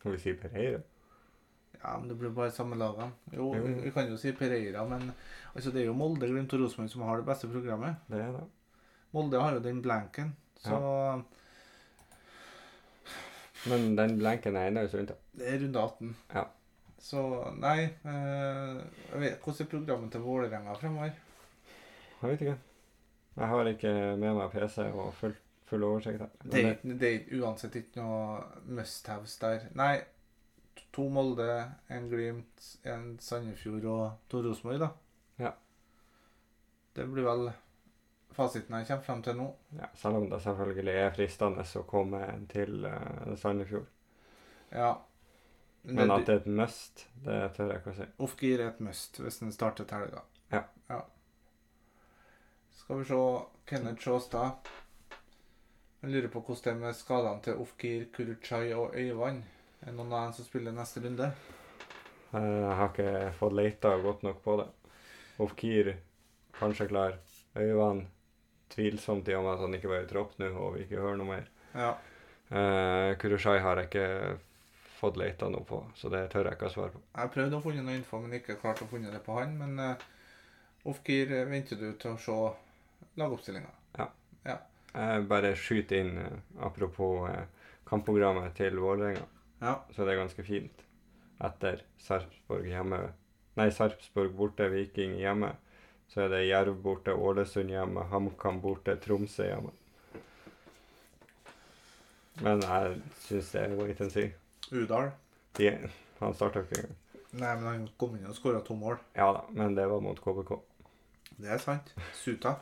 A: Kan vi si Pereira?
B: Ja, men det blir bare samme lagene. Jo,
A: Jo.
B: vi vi kan jo si Pereira, men altså, det er jo Molde, Glimt og Rosenborg som har det beste programmet.
A: Det er det.
B: Molde har jo den blanken, så
A: Men den blenken ene er jo sunt. da.
B: det er runde 18.
A: Ja.
B: Så nei eh, jeg vet, Hvordan er programmet til Vålerenga fremover?
A: Jeg vet ikke. Jeg har ikke med meg PC og full, full oversikt. her. Men
B: Det er ikke- det er ikke- uansett ikke noe must-haves der. Nei, to Molde, en Glimt, en Sandefjord og to Rosenborg, da.
A: Ja.
B: Det blir vel fasiten jeg kommer frem til nå.
A: ja, selv om det selvfølgelig er fristende å komme en til eh, Sandefjord.
B: Ja.
A: Men at det er et must, det tør jeg ikke å si.
B: Off-gear er et must hvis den starter til helga.
A: Ja.
B: ja. Skal vi se Kenneth Sjåstad. Jeg lurer på hvordan det er med skadene til Off-gear, Kuruchai og Øyvand. Er det noen av dem som spiller neste runde?
A: Eh, Jeg har ikke fått leita godt nok på det. Ofkir kanskje klar. Øyvann tvilsomt i og med at han ikke var i tropp nå og vi ikke hører noe mer.
B: Ja.
A: Uh, Kurushai har jeg ikke fått leita noe på, så det tør jeg ikke å svare på.
B: Jeg prøvde å finne noe info, men ikke klarte å finne det på han. Men uh, Off-gear eh, venter du til å se lagoppstillinga.
A: Jeg bare skyter inn eh, apropos eh, kampprogrammet til Vålerenga,
B: Ja.
A: så det er ganske fint. Etter Sarpsborg hjemme Nei, Sarpsborg borte, Viking hjemme. Så er det Jerv borte, Ålesund hjemme, HamKam borte, Tromsø hjemme. Men jeg syns det er wait and see.
B: Udal.
A: De, han starta ikke engang.
B: Nei, men han kom inn og skåra to mål.
A: Ja da, men det var mot KBK.
B: Det er sant. Suta.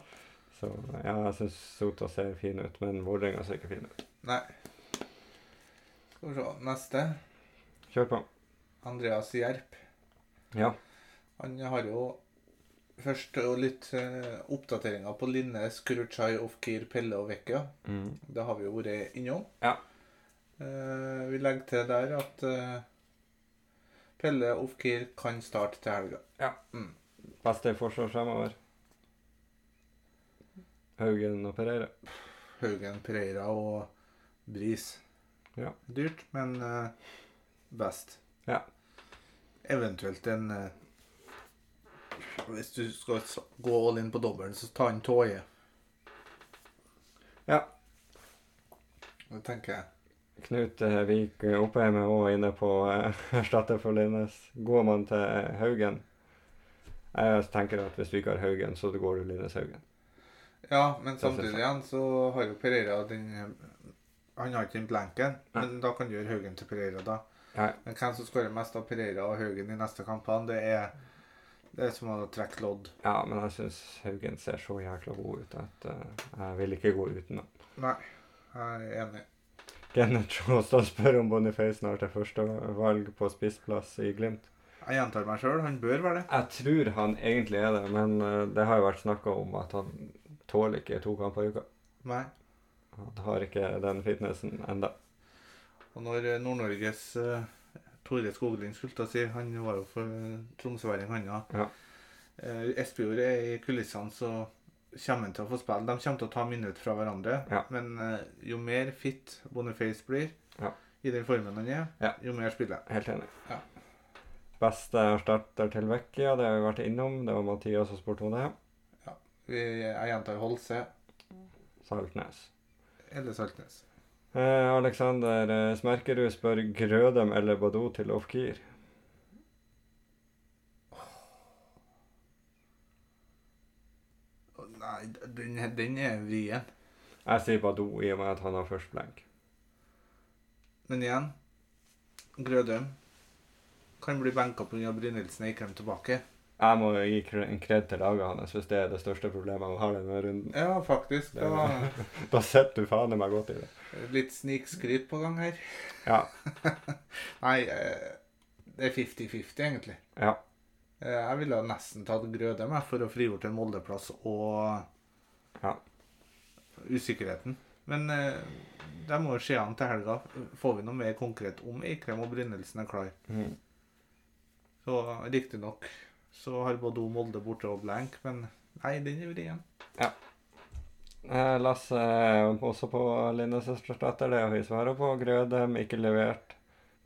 A: Så ja, jeg syns Sota ser fin ut, men Vålerenga ser ikke fin ut.
B: Nei. Skal vi se. Neste.
A: Kjør på.
B: Andreas Jerp.
A: Ja.
B: Han har jo først jo litt eh, oppdateringer på Linnes, Kuruchai, Ofkir, Pelle og Vekka.
A: Mm.
B: Det har vi jo vært innom.
A: Ja.
B: Eh, vi legger til der at eh, Pelle og Ofkir kan starte til helga.
A: Beste forsvar fremover? Haugen og Pereira.
B: Haugen, Pereira og Bris.
A: Ja.
B: Dyrt, men eh, best.
A: Ja.
B: Eventuelt en eh, Hvis du skal s- gå all in på dobbelen, så ta inn Toje.
A: Ja.
B: Det tenker jeg.
A: Knut eh, Vik Oppheim er også inne på eh, erstatter for Linnes. Går man til eh, Haugen Jeg tenker at hvis du ikke har Haugen, så går du Linnes Haugen.
B: Ja, men
A: synes jeg.
B: samtidig igjen så har jo Pereira den Han har ikke den blanken,
A: Nei.
B: men da kan du gjøre Haugen til Pereira, da.
A: Ja.
B: Men hvem som skårer mest av Pereira og Haugen i neste kampene, det er det er som å trekke lodd.
A: Ja, men jeg syns Haugen ser så jækla god ut at eh, jeg vil ikke gå uten ham.
B: Nei, jeg er enig.
A: Kenneth Sjåstad spør om Boniface snart er førstevalg på spissplass i Glimt.
B: Jeg gjentar meg sjøl, han bør være det.
A: Jeg tror han egentlig er det, men eh, det har jo vært snakka om at han tåler ikke to kamper i uka.
B: Nei.
A: Han har ikke den fitnessen enda.
B: Og når eh, Nord-Norges eh, Tore Skoglund skulle til å si Han var jo for eh, tromsøværing, han ja.
A: Ja.
B: Eh, Espejord er i kulissene, så kommer han til å få spille. De kommer til å ta minutter fra hverandre.
A: Ja.
B: Men eh, jo mer fit Boniface blir
A: Ja.
B: i den formen han er,
A: Ja.
B: jo mer spiller han.
A: Helt enig.
B: Ja.
A: Beste erstatter til Vecchia, det har vi vært innom. Det var Mathias som spurte om det.
B: Vi- Jeg gjentar Holse
A: Saltnes.
B: eller Saltnes.
A: Eh, Alexander eh, Smerkerud spør Grødem eller Badou til off-keer.
B: Å, Nei, den, den er vrien.
A: Jeg sier Badou i og med at han har først blank.
B: Men igjen, Grødøm kan bli benka pga. Brynildsen er ikke kommet tilbake.
A: Jeg må gi kre- en kred til laget hans hvis det er det største problemet han har denne runden.
B: Ja, faktisk.
A: Det
B: Det
A: er
B: var
A: Da sitter du faen i meg godt i det.
B: Litt snikskryt på gang her.
A: Ja.
B: Nei, eh, det er 50-50, egentlig.
A: Ja.
B: Eh, Jeg ville nesten tatt Grødem jeg, for å frigjort en Moldeplass og
A: Ja.
B: usikkerheten. Men eh, det må jo skje an til helga. Får vi noe mer konkret om Eikrem og Brynildsen er klar?
A: Mm.
B: Så riktignok så har både hun Molde borte og blank, men nei, den er vrien.
A: Jeg leste eh, også på Linnes søsterdatter det hun svarer på. Grødem ikke levert.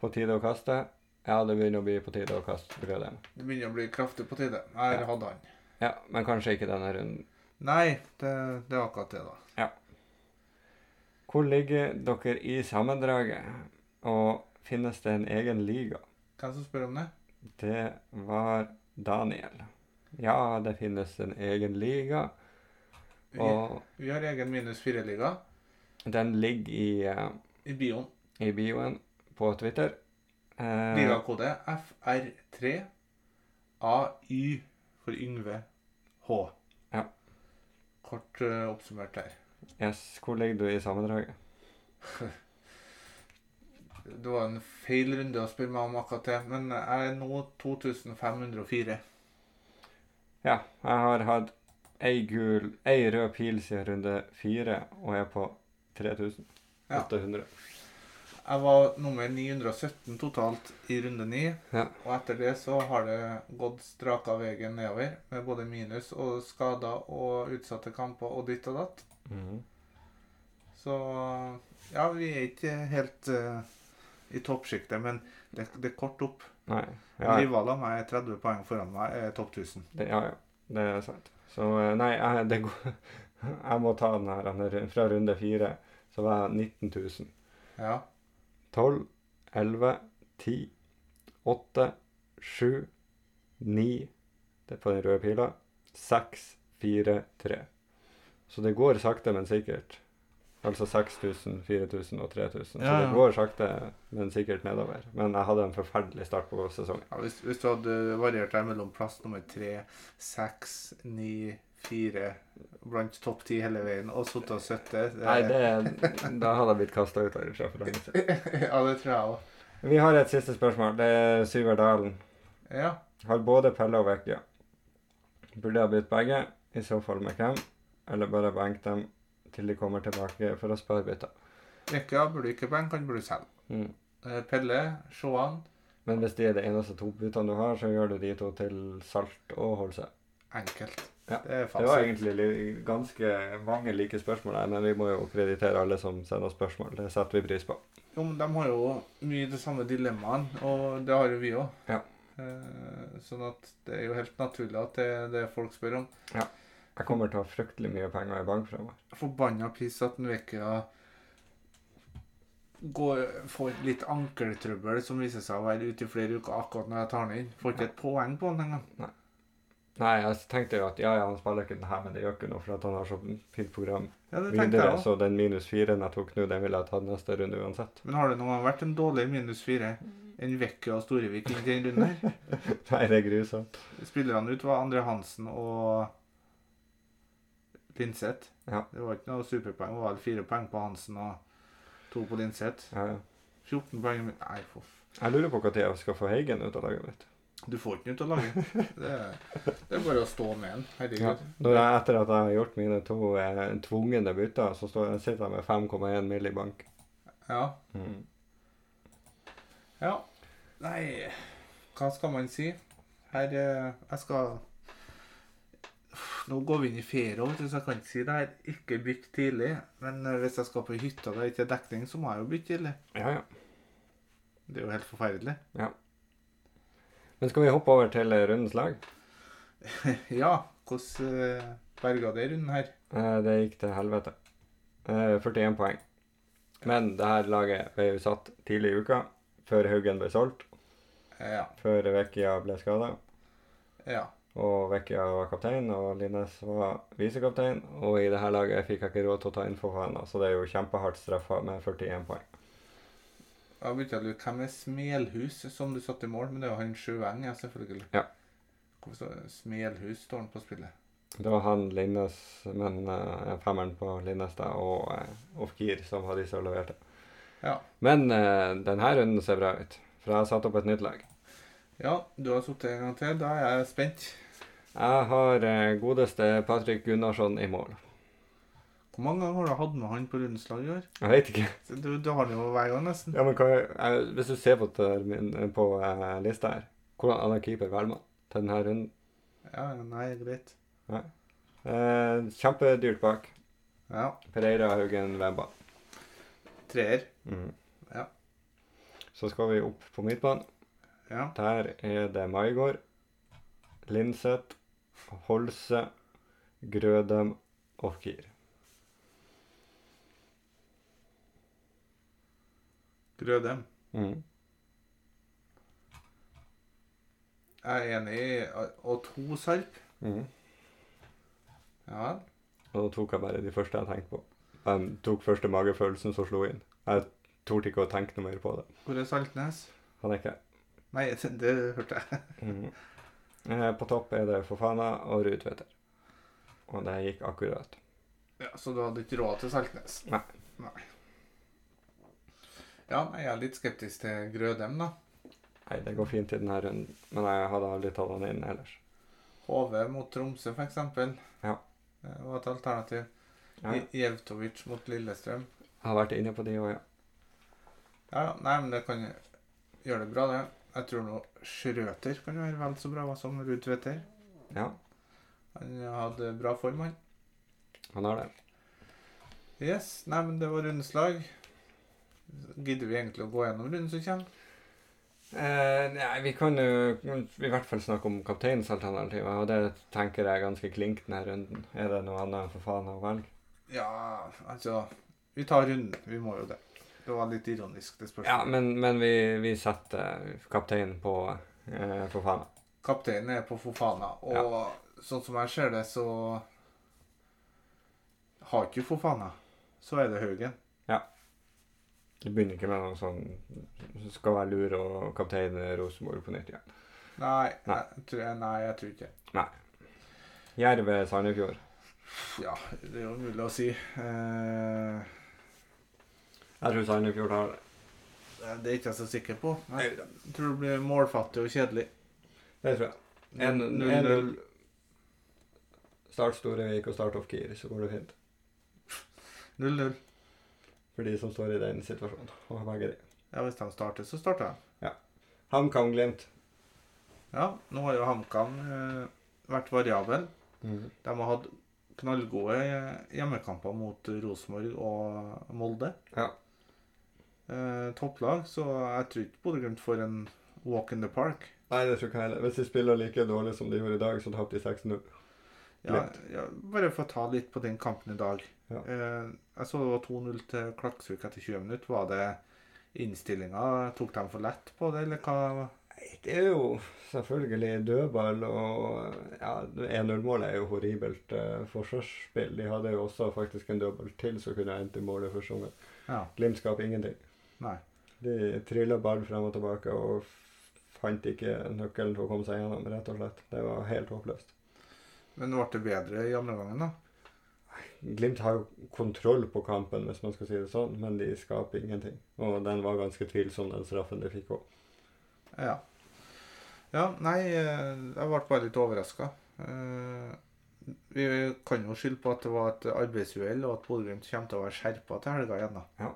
A: På tide å kaste. Ja, det begynner å bli på tide å kaste Grødem.
B: Det begynner å bli kraftig på tide. Her
A: Ja.
B: hadde han.
A: Ja, men kanskje ikke denne runden.
B: Nei, det, det er akkurat det, da.
A: Hvor ligger dere i sammendraget? Og finnes det en egen liga?
B: Hvem som spør om det?
A: Det var Daniel. Ja, det finnes en egen liga,
B: Vi,
A: og
B: vi har egen minus fire-liga
A: den ligger i, eh,
B: i bioen.
A: i bioen på Twitter. Eh,
B: Ligakode FR3 AY for Yngve H.
A: Ja.
B: Kort eh, oppsummert der.
A: Yes, hvor ligger du i sammendraget?
B: Det var en feil runde å spørre meg om akkurat det, men jeg er nå 2504.
A: Ja, jeg har hatt ei gul, ei rød pil siden runde fire, og er på 3800.
B: Jeg var nummer 917 totalt i runde 9,
A: Ja.
B: og etter det så har det gått straka veien nedover, med både minus og skader og utsatte kamper og ditt og datt.
A: Mhm.
B: Så ja, vi er ikke helt eh, i toppsjiktet, men det, det er kort opp.
A: Nei.
B: Ja.
A: Ja,
B: Rival av meg er 30 poeng foran meg, er topp 1000.
A: det, ja, ja, det er sant. Så eh, nei, jeg, det går Jeg må ta den her. den er Fra runde fire så var jeg 19 000.
B: Ja.
A: 12, 11, 10, 8, 7, 9 Det er på den røde pila. 6, 4, 3. Så det går sakte, men sikkert. Altså 6000, 4000 og 3000.
B: Ja,
A: Så
B: ja.
A: det går sakte, men sikkert nedover. Men jeg hadde en forferdelig start på sesongen.
B: ja hvis, hvis du hadde variert deg mellom plass nummer 3, 6, 9, 4 blant topp 10 hele veien, og sittet og sittet eh, det-
A: Nei, det, da hadde jeg blitt kasta ut av sjefforhandlingen.
B: Ja, det tror jeg òg.
A: Vi har et siste spørsmål. Det er Syver Dalen.
B: Ja.
A: Har både Pelle og Vecchia. Burde ha bytt begge, i så fall med hvem, eller bare benke dem til de kommer tilbake for å spare bytter.
B: Rekka burde ikke bank, han burde selge.
A: Mm.
B: Eh, Pelle, Sjåan,
A: Men hvis de er de eneste to byttene du har, så gjør du de to til salt og holse.
B: enkelt.
A: Ja,
B: Det er
A: Det var
B: fasit.
A: egentlig li- ganske mange like spørsmål her, men vi må jo kreditere alle som sender spørsmål. Det setter vi pris på.
B: Jo, men de har jo mye de samme dilemmaene, og det har jo vi òg.
A: Ja.
B: Sånn at det er jo helt naturlig at det er det folk spør om.
A: Jeg kommer til å ha fryktelig mye penger i bank fremover.
B: Forbanna piss at Nvekia går, får litt ankeltrøbbel som viser seg å være ute i flere uker akkurat når jeg tar den inn. Får ikke et poeng på den engang.
A: Nei, jeg tenkte jo at ja, ja, han spiller ikke den her, men det gjør ikke noe, for at han har så fint program
B: Ja, det tenkte
A: videre.
B: jeg også.
A: Så den minus firen jeg tok nå, den ville jeg tatt neste runde uansett.
B: Men har det noen gang vært en dårlig minus fire enn Vekke og Storevik inn i den runden her?
A: Nei, det er grusomt.
B: Spillerne ut var Andre Hansen og Linseth.
A: Ja.
B: Det var ikke noe superpoeng. Det var vel fire poeng på Hansen og to på Linseth.
A: Ja, ja.
B: 14 poeng i min- Nei, for
A: Jeg lurer på når jeg skal få Heigen ut av laget mitt.
B: Du får ikke den ut av laget. Det, det er bare å stå med den. Herregud.
A: Når jeg, etter at jeg har gjort mine to eh, tvungne bytter, så står, sitter jeg med 5,1 mill. i bank.
B: Ja.
A: Mm.
B: ja. Nei, hva skal man si? Her eh, Jeg skal Uff, Nå går vi inn i ferie, vet du, så jeg kan ikke si det her. Ikke bytt tidlig. Men eh, hvis jeg skal på hytta og det ikke er dekning, så må jeg jo bytte tidlig.
A: Ja, ja.
B: Det er jo helt forferdelig.
A: Men skal vi hoppe over til eh, rundens lag?
B: ja, hvordan eh, berga det runden her?
A: Eh, Det gikk til helvete. Eh, 41 poeng. Men det her laget ble jo satt tidlig i uka, før Haugen ble solgt,
B: Eh, Ja.
A: før Vecchia ble skada.
B: ja.
A: Og Vecchia var kaptein, og Linnes var visekaptein. Og i det her laget fikk jeg ikke råd til å ta inn Fofana, så det er jo kjempehardt straffa med 41 poeng.
B: Jeg begynte å lure hvem er Smelhus som du satte i mål, men det er jo han Sjøeng, ja, selvfølgelig.
A: Ja.
B: Hvorfor står det Smelhus står han på spillet?
A: Det var han Linnes, men eh, femmeren på Linnes da, og uh, Ofkir som var de som leverte.
B: Ja.
A: Men denne runden ser bra ut, for jeg har satt opp et nytt lag.
B: Ja, du har sittet en gang til. Da er jeg spent.
A: Jeg har eh, godeste Patrick Gunnarsson i mål.
B: Hvor mange ganger har du hatt med han på rundslag i år?
A: Jeg vet ikke.
B: Så Du, du har han jo hver gang, nesten.
A: Ja, men hva, jeg, hvis du ser på, termin, på eh, lista her, hvordan annen keeper velger man til denne runden?
B: Ja, ja, nei, greit.
A: Eh, kjempedyrt bak.
B: Ja.
A: Pereira, Haugen, Webba.
B: Treer. Ja.
A: Mm. Så skal vi opp på midtbanen.
B: Ja.
A: Der er det Maigård, Linseth, Holse, Grødem og Kier.
B: Grødem. Jeg er enig i Og to Sarp. Ja.
A: Og da tok jeg bare de første jeg tenkte på. Jeg tok første magefølelsen som slo inn. Jeg torde ikke å tenke noe mer på det.
B: Hvor er Saltnes?
A: Han er ikke
B: Nei, det, det hørte jeg.
A: Mhm. Eh, På topp er det Fofana og Rudtveter. Og det gikk akkurat.
B: Ja, Så du hadde ikke råd til Saltnes?
A: Nei.
B: nei. Ja, nei, jeg er litt skeptisk til Grødem, da.
A: Nei, det går fint i denne runden, men jeg hadde aldri tatt han inn ellers.
B: HV mot Tromsø, for eksempel.
A: Ja.
B: Det var et alternativ.
A: Ja,
B: I- Jevtovic mot Lillestrøm.
A: jeg har vært inne på de òg, ja.
B: Ja, ja. Nei, men det kan gjøre det bra, det. Jeg tror nå Schrøter kan være vel så bra som Rudtveter.
A: ja.
B: Han hadde bra form, han.
A: Han har det.
B: Yes. Nei, men det var rundslag. Gidder vi egentlig å gå gjennom runden som kommer?
A: Eh, nei, vi kan jo i hvert fall snakke om kapteinsalternativet, og det tenker jeg er ganske klink denne runden. Er det noe annet for faen å velge?
B: Ja, altså Vi tar runden. Vi må jo det. Det var litt ironisk, det spørsmålet.
A: Ja, men, men vi, vi setter kapteinen på eh, for faen.
B: Kapteinen er på Fofana, og sånn som jeg ser det, så har ikke Fofana. Så er det Haugen.
A: Det begynner ikke med noe sånn skal være lur og kaptein Rosenborg på nytt igjen.
B: Nei,
A: Nei.
B: Jeg, tror, nei, jeg tror ikke
A: Jerv er Sandefjord.
B: Ja, det er jo mulig å si. Eh,
A: Jeg tror Sandefjord har det.
B: det er ikke jeg så sikker på. Jeg tror det blir målfattig og kjedelig.
A: Det tror jeg. 1-0 Start Storevik og start off-gear, så går det fint.
B: 0-0.
A: For de som står i den situasjonen. Og begge de.
B: Ja, hvis de starter, så starter de.
A: HamKam Glimt.
B: Ja, nå har jo HamKam eh, vært variabel.
A: Mm.
B: De har hatt knallgode eh, hjemmekamper mot Rosenborg og Molde.
A: Ja.
B: Eh, topplag, så jeg tror ikke Bodø-Glimt får en walk in the park.
A: Nei, det tror ikke jeg heller. Hvis de spiller like dårlig som de gjorde i dag, så tapte de 6-0.
B: Ja, ja, bare for å ta litt på den kampen i dag.
A: Ja.
B: Eh, jeg så det var 2-0 til Klaksvik etter 20 minutter. Var det innstillinga? Tok de for lett på det, eller hva?
A: Nei, Det er jo selvfølgelig dødball og ja, 1-0-målet er jo horribelt eh, forsvarsspill. De hadde jo også faktisk en dødball til som kunne ha endt i målet første omgang.
B: Ja,
A: Glimt skaper ingenting.
B: nei.
A: De trilla ball frem og tilbake og f- fant ikke nøkkelen til å komme seg gjennom, rett og slett. Det var helt håpløst.
B: Men ble det bedre i andre gangen, da?
A: Glimt har jo kontroll på kampen, hvis man skal si det sånn, men de skaper ingenting. Og den var ganske tvilsom, den straffen de fikk òg.
B: Ja. Ja, nei, eh, jeg ble bare litt overraska. Vi kan jo skylde på at det var et arbeidsuhell, og at Bodø-Glimt kommer til å være skjerpa til helga igjen. da.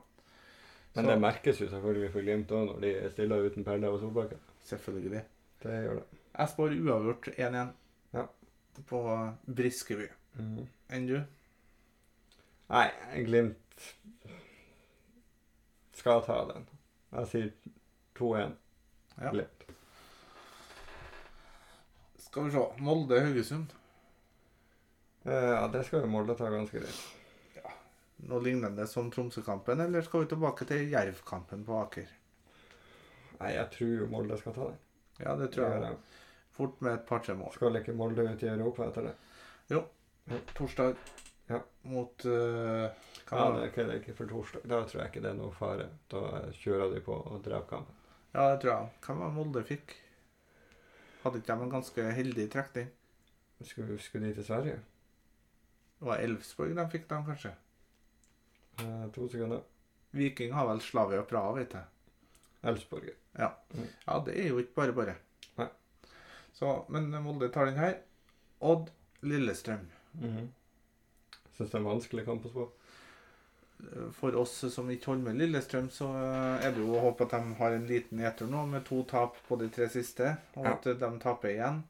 A: Men
B: Så-
A: det merkes jo selvfølgelig for Glimt òg, når de stiller uten Pelle og Solbakken.
B: Selvfølgelig.
A: Det gjør det.
B: Jeg spår uavgjort 1-1
A: Ja.
B: på Briskeby.
A: Mhm.
B: Enn du?
A: Nei, Glimt skal ta den. Jeg sier 2-1
B: Ja.
A: Glimt.
B: Skal vi se. Molde-Haugesund.
A: Eh, ja, det skal jo Molde ta ganske greit.
B: Noe lignende som Tromsø-kampen, eller skal vi tilbake til Jerv-kampen på Aker?
A: Nei, jeg tror jo Molde skal ta den.
B: Ja, det tror jeg. Fort med et par-tre mål.
A: Skal ikke Molde ut i Europa etter det?
B: Torsdag
A: Ja.
B: mot eh, hva
A: Ja,
B: var
A: det
B: det?
A: er ikke, det er ikke for torsdag. Da tror jeg ikke det er noe fare. Da kjører de på og dreper kampen.
B: ja, det tror jeg. Hvem var det Molde fikk? Hadde ikke de en ganske heldig trekning?
A: Skulle, skulle de til Sverige?
B: Det var Elfsborg de fikk, dem, kanskje?
A: Eh, to sekunder.
B: Viking har vel Slavia Praha, vet jeg.
A: Elfsborg.
B: Ja, det er jo ikke bare bare.
A: Nei.
B: Mhm. Så, men Molde tar den her. Odd Lillestrøm.
A: Syns det er en vanskelig kamp å spå.
B: For oss som ikke holder med Lillestrøm, så eh, er det jo å håpe at de har en liten nedtur nå, med to tap på de tre siste, og
A: Ja.
B: at eh, de taper igjen.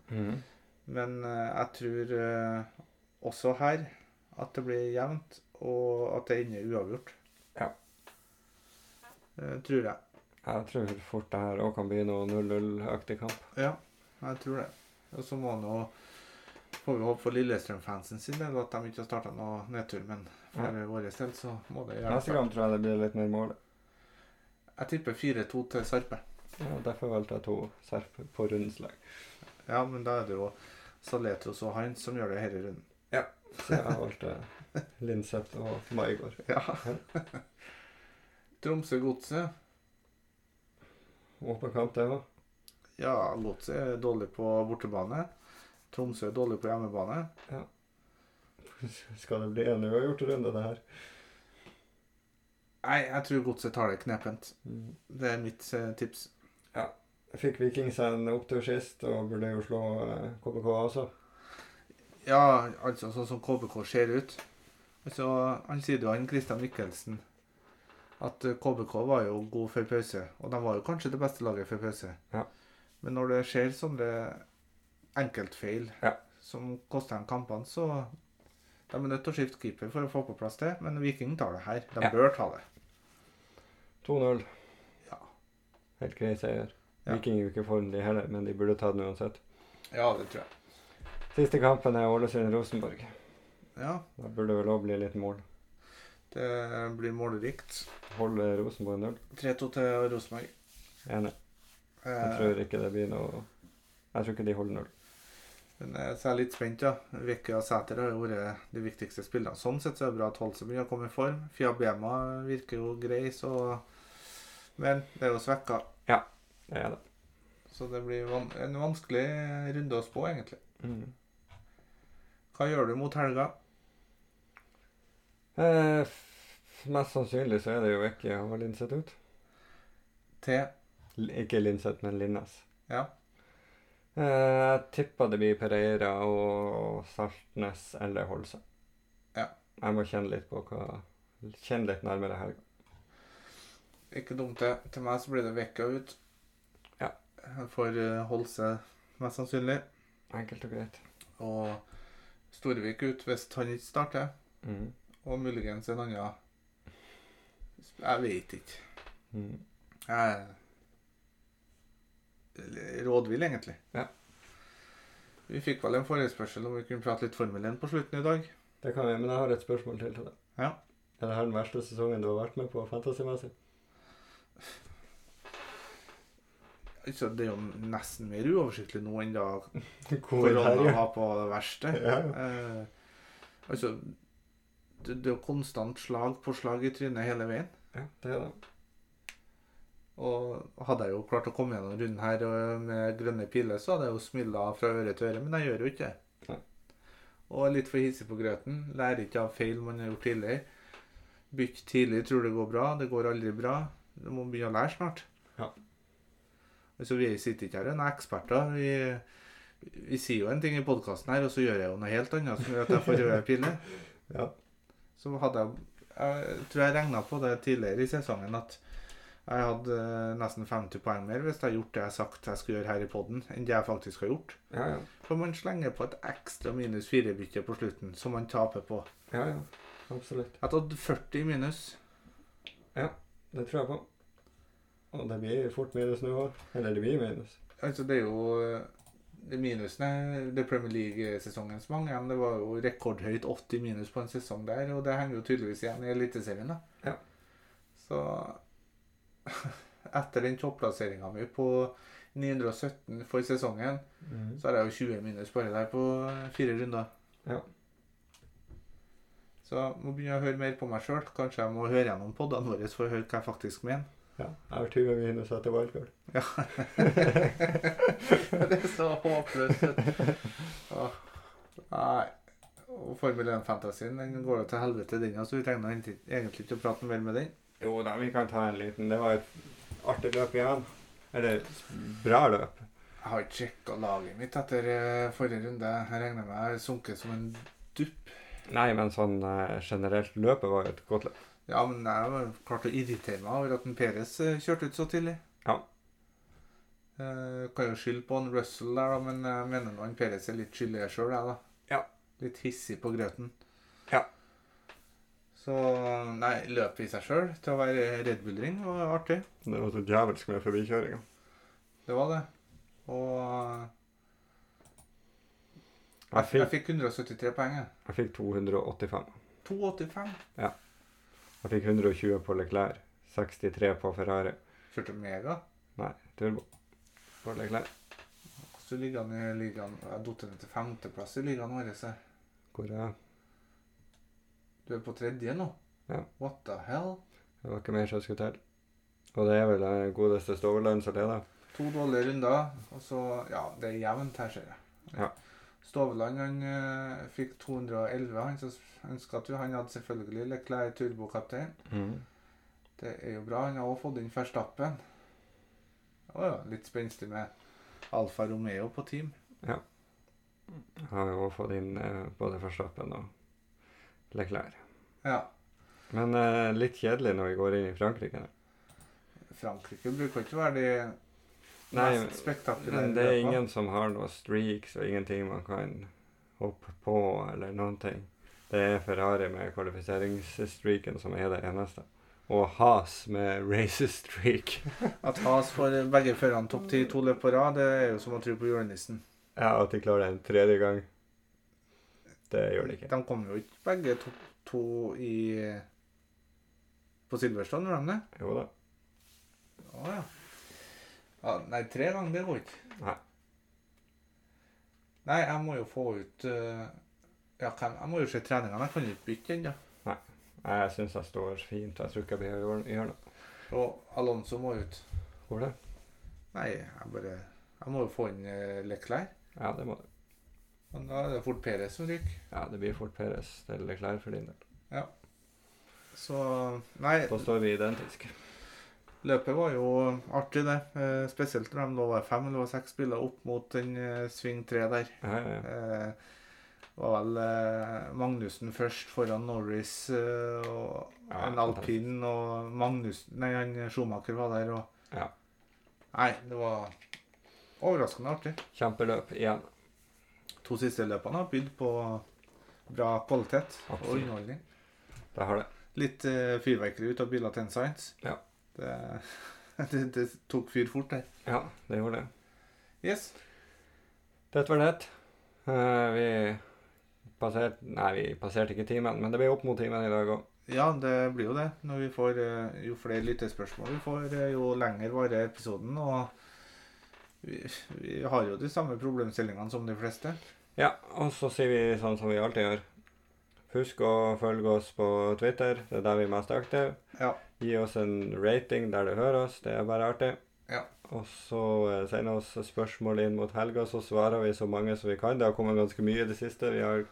B: Men eh, jeg tror eh, også her at det blir jevnt, og at det ender uavgjort.
A: Ja.
B: Eh, tror jeg.
A: Jeg tror fort det her òg kan bli noe 0-0-aktig kamp.
B: Ja, jeg tror det. Og så må nå får vi håpe for Lillestrøm-fansen sin del at de ikke har starta noe nedtur, men for vår del så må det gjøre
A: Neste kamp tror jeg det blir litt mer mål.
B: Jeg tipper 4-2 til Sarpe.
A: Ja, derfor valgte jeg to serp på rundens lag.
B: Ja, men da er det jo Saletros og Heinz som gjør det hele runden.
A: Så jeg valgte Linseth og Maigård.
B: Ja. Tromsø-Godset.
A: Åpen kamp, det òg.
B: Ja, Godset er dårlig på bortebane. Tromsø er dårlig på hjemmebane.
A: Skal det bli en uavgjort runde, det her?
B: Nei, jeg tror Godset tar det knepent. Det er mitt eh, tips.
A: Mm. Fikk Viking seg en opptur sist og burde jo slå eh, KBK også.
B: Ja, altså sånn som KBK ser ut. Altså, han sier det jo, han Christian Mikkelsen, at eh, KBK var jo god før pause. Og de var jo kanskje det beste laget før pause.
A: Ja.
B: Men når det skjer sånne enkeltfeil
A: Ja.
B: som koster dem kampene, så de er nødt til å skifte keeper for å få på plass det. Men Viking tar det her. De
A: Ja.
B: bør ta det.
A: 2-0.
B: Ja.
A: Helt grei seier.
B: Ja.
A: Viking er jo ikke i form, de heller, men de burde ta den uansett.
B: Ja, det tror jeg.
A: Siste kampen er Ålesund-Rosenborg.
B: Ja,
A: Da burde vel òg bli litt mål.
B: det blir målrikt.
A: Holde Rosenborg null.
B: 3-2 til Rosenborg.
A: Enig. Jeg
B: Eh,
A: tror ikke det blir noe Jeg tror ikke de holder null.
B: Men eh, så er jeg litt spent, ja. Vekke og Sæter har jo vært de viktigste spillerne. Sånn sett så er det bra at Holseby har kommet i form. Fiabema virker jo grei, så Men det er jo svekka.
A: Det er det.
B: Så det blir van en vanskelig runde å spå, egentlig.
A: Mm.
B: Hva gjør du mot helga?
A: Eh, f- mest sannsynlig så er det jo ikke å ha Linseth ut.
B: Til
A: L ikke Linseth, men Linnes.
B: Ja.
A: Eh, jeg tipper det blir Pereira og Saltnes eller Holse.
B: Ja.
A: Jeg må kjenne litt på hva Kjenne litt nærmere helga.
B: Ikke dumt, det. Til meg så blir det Vekka ut.
A: Ja.
B: For eh, Holse, mest sannsynlig.
A: Enkelt og greit.
B: Og Storvik ut hvis han ikke starter.
A: Mm.
B: Og muligens en annen Jeg vet ikke.
A: Mm.
B: Jeg er Eh, rådvill, egentlig.
A: Ja.
B: Vi fikk vel en forespørsel om vi kunne prate litt Formel 1 på slutten i dag.
A: Det kan vi, men jeg har et spørsmål til til deg.
B: Ja.
A: Er det her den verste sesongen du har vært med på fantasymessig?
B: Altså, det er jo nesten mer uoversiktlig nå enn da
A: Covid
B: korona
A: herje.
B: var på det verste.
A: Ja.
B: Eh, altså, det, det er jo konstant slag på slag i trynet hele veien.
A: ja, det er det.
B: Og hadde jeg jo klart å komme gjennom runden her og med grønne piler, så hadde jeg jo smilla fra øre til øre, men jeg gjør jo ikke det.
A: Nei.
B: Og er litt for hissig på grøten. Lærer ikke av feil man har gjort tidligere. Bytt tidlig, tror det går bra. Det går aldri bra. Du må begynne å lære snart.
A: Ja.
B: Altså, vi sitter ikke her og er eksperter. Vi, vi sier jo en ting i podkasten her, og så gjør jeg jo noe helt annet som gjør at jeg får røde piler.
A: Ja.
B: Så hadde jeg Jeg tror jeg regna på det tidligere i sesongen at jeg hadde eh, nesten 50 poeng mer hvis jeg hadde gjort det jeg sagt jeg skulle gjøre her i poden, enn det jeg faktisk har gjort.
A: Ja, ja.
B: For man slenger på et ekstra minus 4-bytte på slutten, som man taper på.
A: Ja, ja. Absolutt.
B: Jeg hadde 40 minus.
A: Det tror jeg på. Og det blir fort minus nå òg. Eller det blir minus.
B: Altså, det er jo eh, det minusene Det er Premier League-sesongens mange, men det var jo rekordhøyt 80 minus på en sesong der, og det henger jo tydeligvis igjen i Eliteserien, da.
A: Ja.
B: Så etter den topplasseringa mi på 917 for sesongen,
A: Mm.
B: så har jeg jo 20 minus bare der på fire runder.
A: Ja.
B: Så jeg må begynne å høre mer på meg sjøl. Kanskje jeg må høre gjennom podene våre for å høre hva jeg faktisk mener.
A: Ja. Jeg har 20 minus etter wildcard.
B: Ja. det er så håpløst. vet du. Åh, Nei. Og Formel 1-fantasien den går jo til helvete, den. Altså, vi trenger egentlig egentlig ikke å prate mer med den.
A: Jo da, vi kan ta en liten. Det var et artig løp igjen. Eller bra løp.
B: Jeg har ikke sjekka laget mitt etter eh, forrige runde. Jeg regner med jeg har sunket som en dupp
A: Nei, men sånn eh, generelt løpet var jo et godt løp.
B: Ja, men jeg var klart å irritere meg over at en Peres eh, kjørte ut så tidlig.
A: Ja.
B: Eh, kan jo skylde på en Russell der, da, men jeg mener nå en Peres er litt skyldig sjøl, jeg, da.
A: Ja.
B: Litt hissig på grøten.
A: Ja.
B: Så nei, løpet i seg sjøl til å være Red Bull-ring var artig.
A: Det var så djevelsk med forbikjøringa.
B: Det var det. Og eh,
A: Jeg
B: jeg, jeg
A: fikk,
B: fikk 173 poeng, jeg.
A: jeg fikk 285.
B: 2,85.
A: Jeg fikk 120 på Leclerc, 63 på Ferrari.
B: Kjørte mega.
A: Nei, turbo på Leclerc.
B: Så ligger han i ligaen Jeg har datt ned til femteplass i ligaen vår. så
A: Hvor jeg,
B: Du er på tredje nå?
A: Ja.
B: What the hell?
A: det var ikke mer som skulle til. Og det er vel eh, godeste Stoverland som leder.
B: To dårlige runder, og så Ja, det er jevnt her, ser jeg.
A: Ja.
B: Stoveland han eh, fikk 211. Han som ønska at vi Han hadde selvfølgelig Leclerc turbokaptein.
A: Mm.
B: Det er jo bra. Han har også fått inn Verstappen. Å ja. Litt spenstig med Alfa Romeo på team.
A: Jeg har jo fått inn eh, både Verstappen og Leclerc.
B: Ja.
A: Men eh, litt kjedelig når vi går inn i Frankrike. da.
B: Frankrike bruker ikke å være de
A: Nei, men-
B: mest spektakulære.
A: Men det er
B: løpene.
A: ingen som har noen streaks og ingenting man kan hoppe på eller noen ting. Det er Ferrari med kvalifiseringsstreaken som er det eneste. Og Has med racestreak.
B: At Haas får begge førerne topp ti to løp på rad, det er jo som å tro på julenissen.
A: Ja, at de klarer det en tredje gang. Det gjør de ikke.
B: De kom jo ikke begge topp to i På Silverstone, gjorde de det?
A: Jo da.
B: Å ja. ja. Nei, tre ganger, det går ikke.
A: Nei.
B: Nei, jeg må jo få ut eh, ja, hvem- Jeg må jo se treningene. Jeg kan jo ikke bytte ennå.
A: Jeg syns jeg står fint. Jeg tror ikke jeg behøver å gjøre- gjøre noe.
B: Og Alonso må ut.
A: Går det?
B: Nei, jeg bare Jeg må jo få inn eh, Leclerc.
A: Ja, det må det.
B: Men da er det fort Perez som ryker.
A: Ja, det blir fort Peres eller Klær for din del.
B: Så Nei.
A: Da står vi identiske.
B: Løpet var jo artig, det. Eh, Spesielt når de nå var fem eller var seks biler opp mot den eh, sving tre der.
A: Ja, ja, ja.
B: Eh, var vel eh, Magnussen først foran Norris eh, og
A: Ja,
B: en alpin, og Magnussen Nei, han eh, Schumacher var der, og
A: Ja.
B: Nei, det var overraskende artig.
A: Kjempeløp igjen.
B: To siste løpene har bydd på bra kvalitet og
A: Absolutt.
B: underholdning.
A: Det har det.
B: Litt eh, fyrverkeri ut av biler til en science.
A: Ja.
B: Det, det, det tok fyr fort, der.
A: Ja, det gjorde det.
B: Yes.
A: Det var det. Eh, vi passerte Nei, vi passerte ikke timen, men det ble opp mot timen i dag òg.
B: Ja, det blir jo det. Når vi får, eh, jo flere lyttespørsmål vi får, eh, jo lenger varer episoden. Og vi, vi har jo de samme problemstillingene som de fleste.
A: Ja, og så sier vi sånn som vi alltid gjør. Husk å følge oss på Twitter. Det er der vi er mest aktive.
B: Ja.
A: Gi oss en rating der du hører oss. Det er bare artig.
B: Ja.
A: Og så eh, send oss spørsmål inn mot helga, så svarer vi så mange som vi kan. Det har kommet ganske mye i det siste. Vi har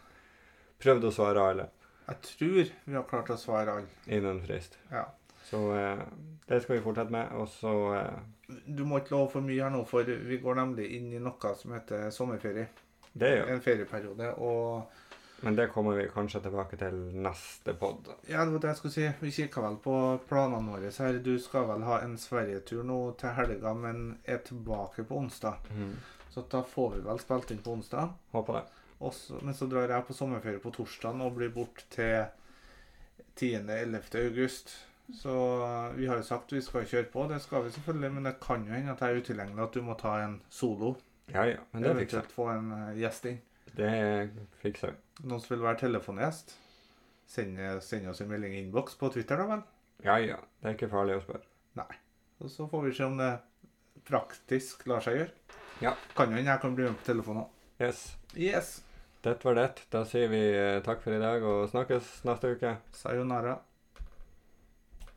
A: prøvd å svare alle
B: Jeg tror vi har klart å svare alle.
A: innen frist.
B: Ja.
A: Så eh, det skal vi fortsette med. Og så eh,
B: Du må ikke love for mye her nå, for vi går nemlig inn i noe som heter sommerferie.
A: Det gjør vi.
B: En ferieperiode. Og
A: Men det kommer vi kanskje tilbake til neste pod.
B: ja, det var det jeg skulle si. Vi kikker vel på planene våre her. Du skal vel ha en sverigetur nå til helga, men er tilbake på onsdag. Så da får vi vel spilt inn på onsdag.
A: Håper det.
B: Og så- men så drar jeg på sommerferie på torsdagen og blir bort til 10.-11. august. Så eh, vi har jo sagt vi skal kjøre på, det skal vi selvfølgelig. Men det kan jo hende at jeg er utilgjengelig, at du må ta en solo.
A: Ja, ja. Men det fikser vi.
B: Eventuelt få en eh, gjest inn.
A: Det fikser vi.
B: Noen som vil være telefongjest, send, eh, send oss en melding i innboks på Twitter, da vel.
A: Ja, ja. Det er ikke farlig å spørre.
B: Og så får vi se om det praktisk lar seg gjøre.
A: Ja.
B: Kan jo hende jeg kan bli med på telefonen òg.
A: Yes.
B: Yes.
A: Det var det. Da sier vi eh, takk for i dag og snakkes neste uke.
B: Sayonara.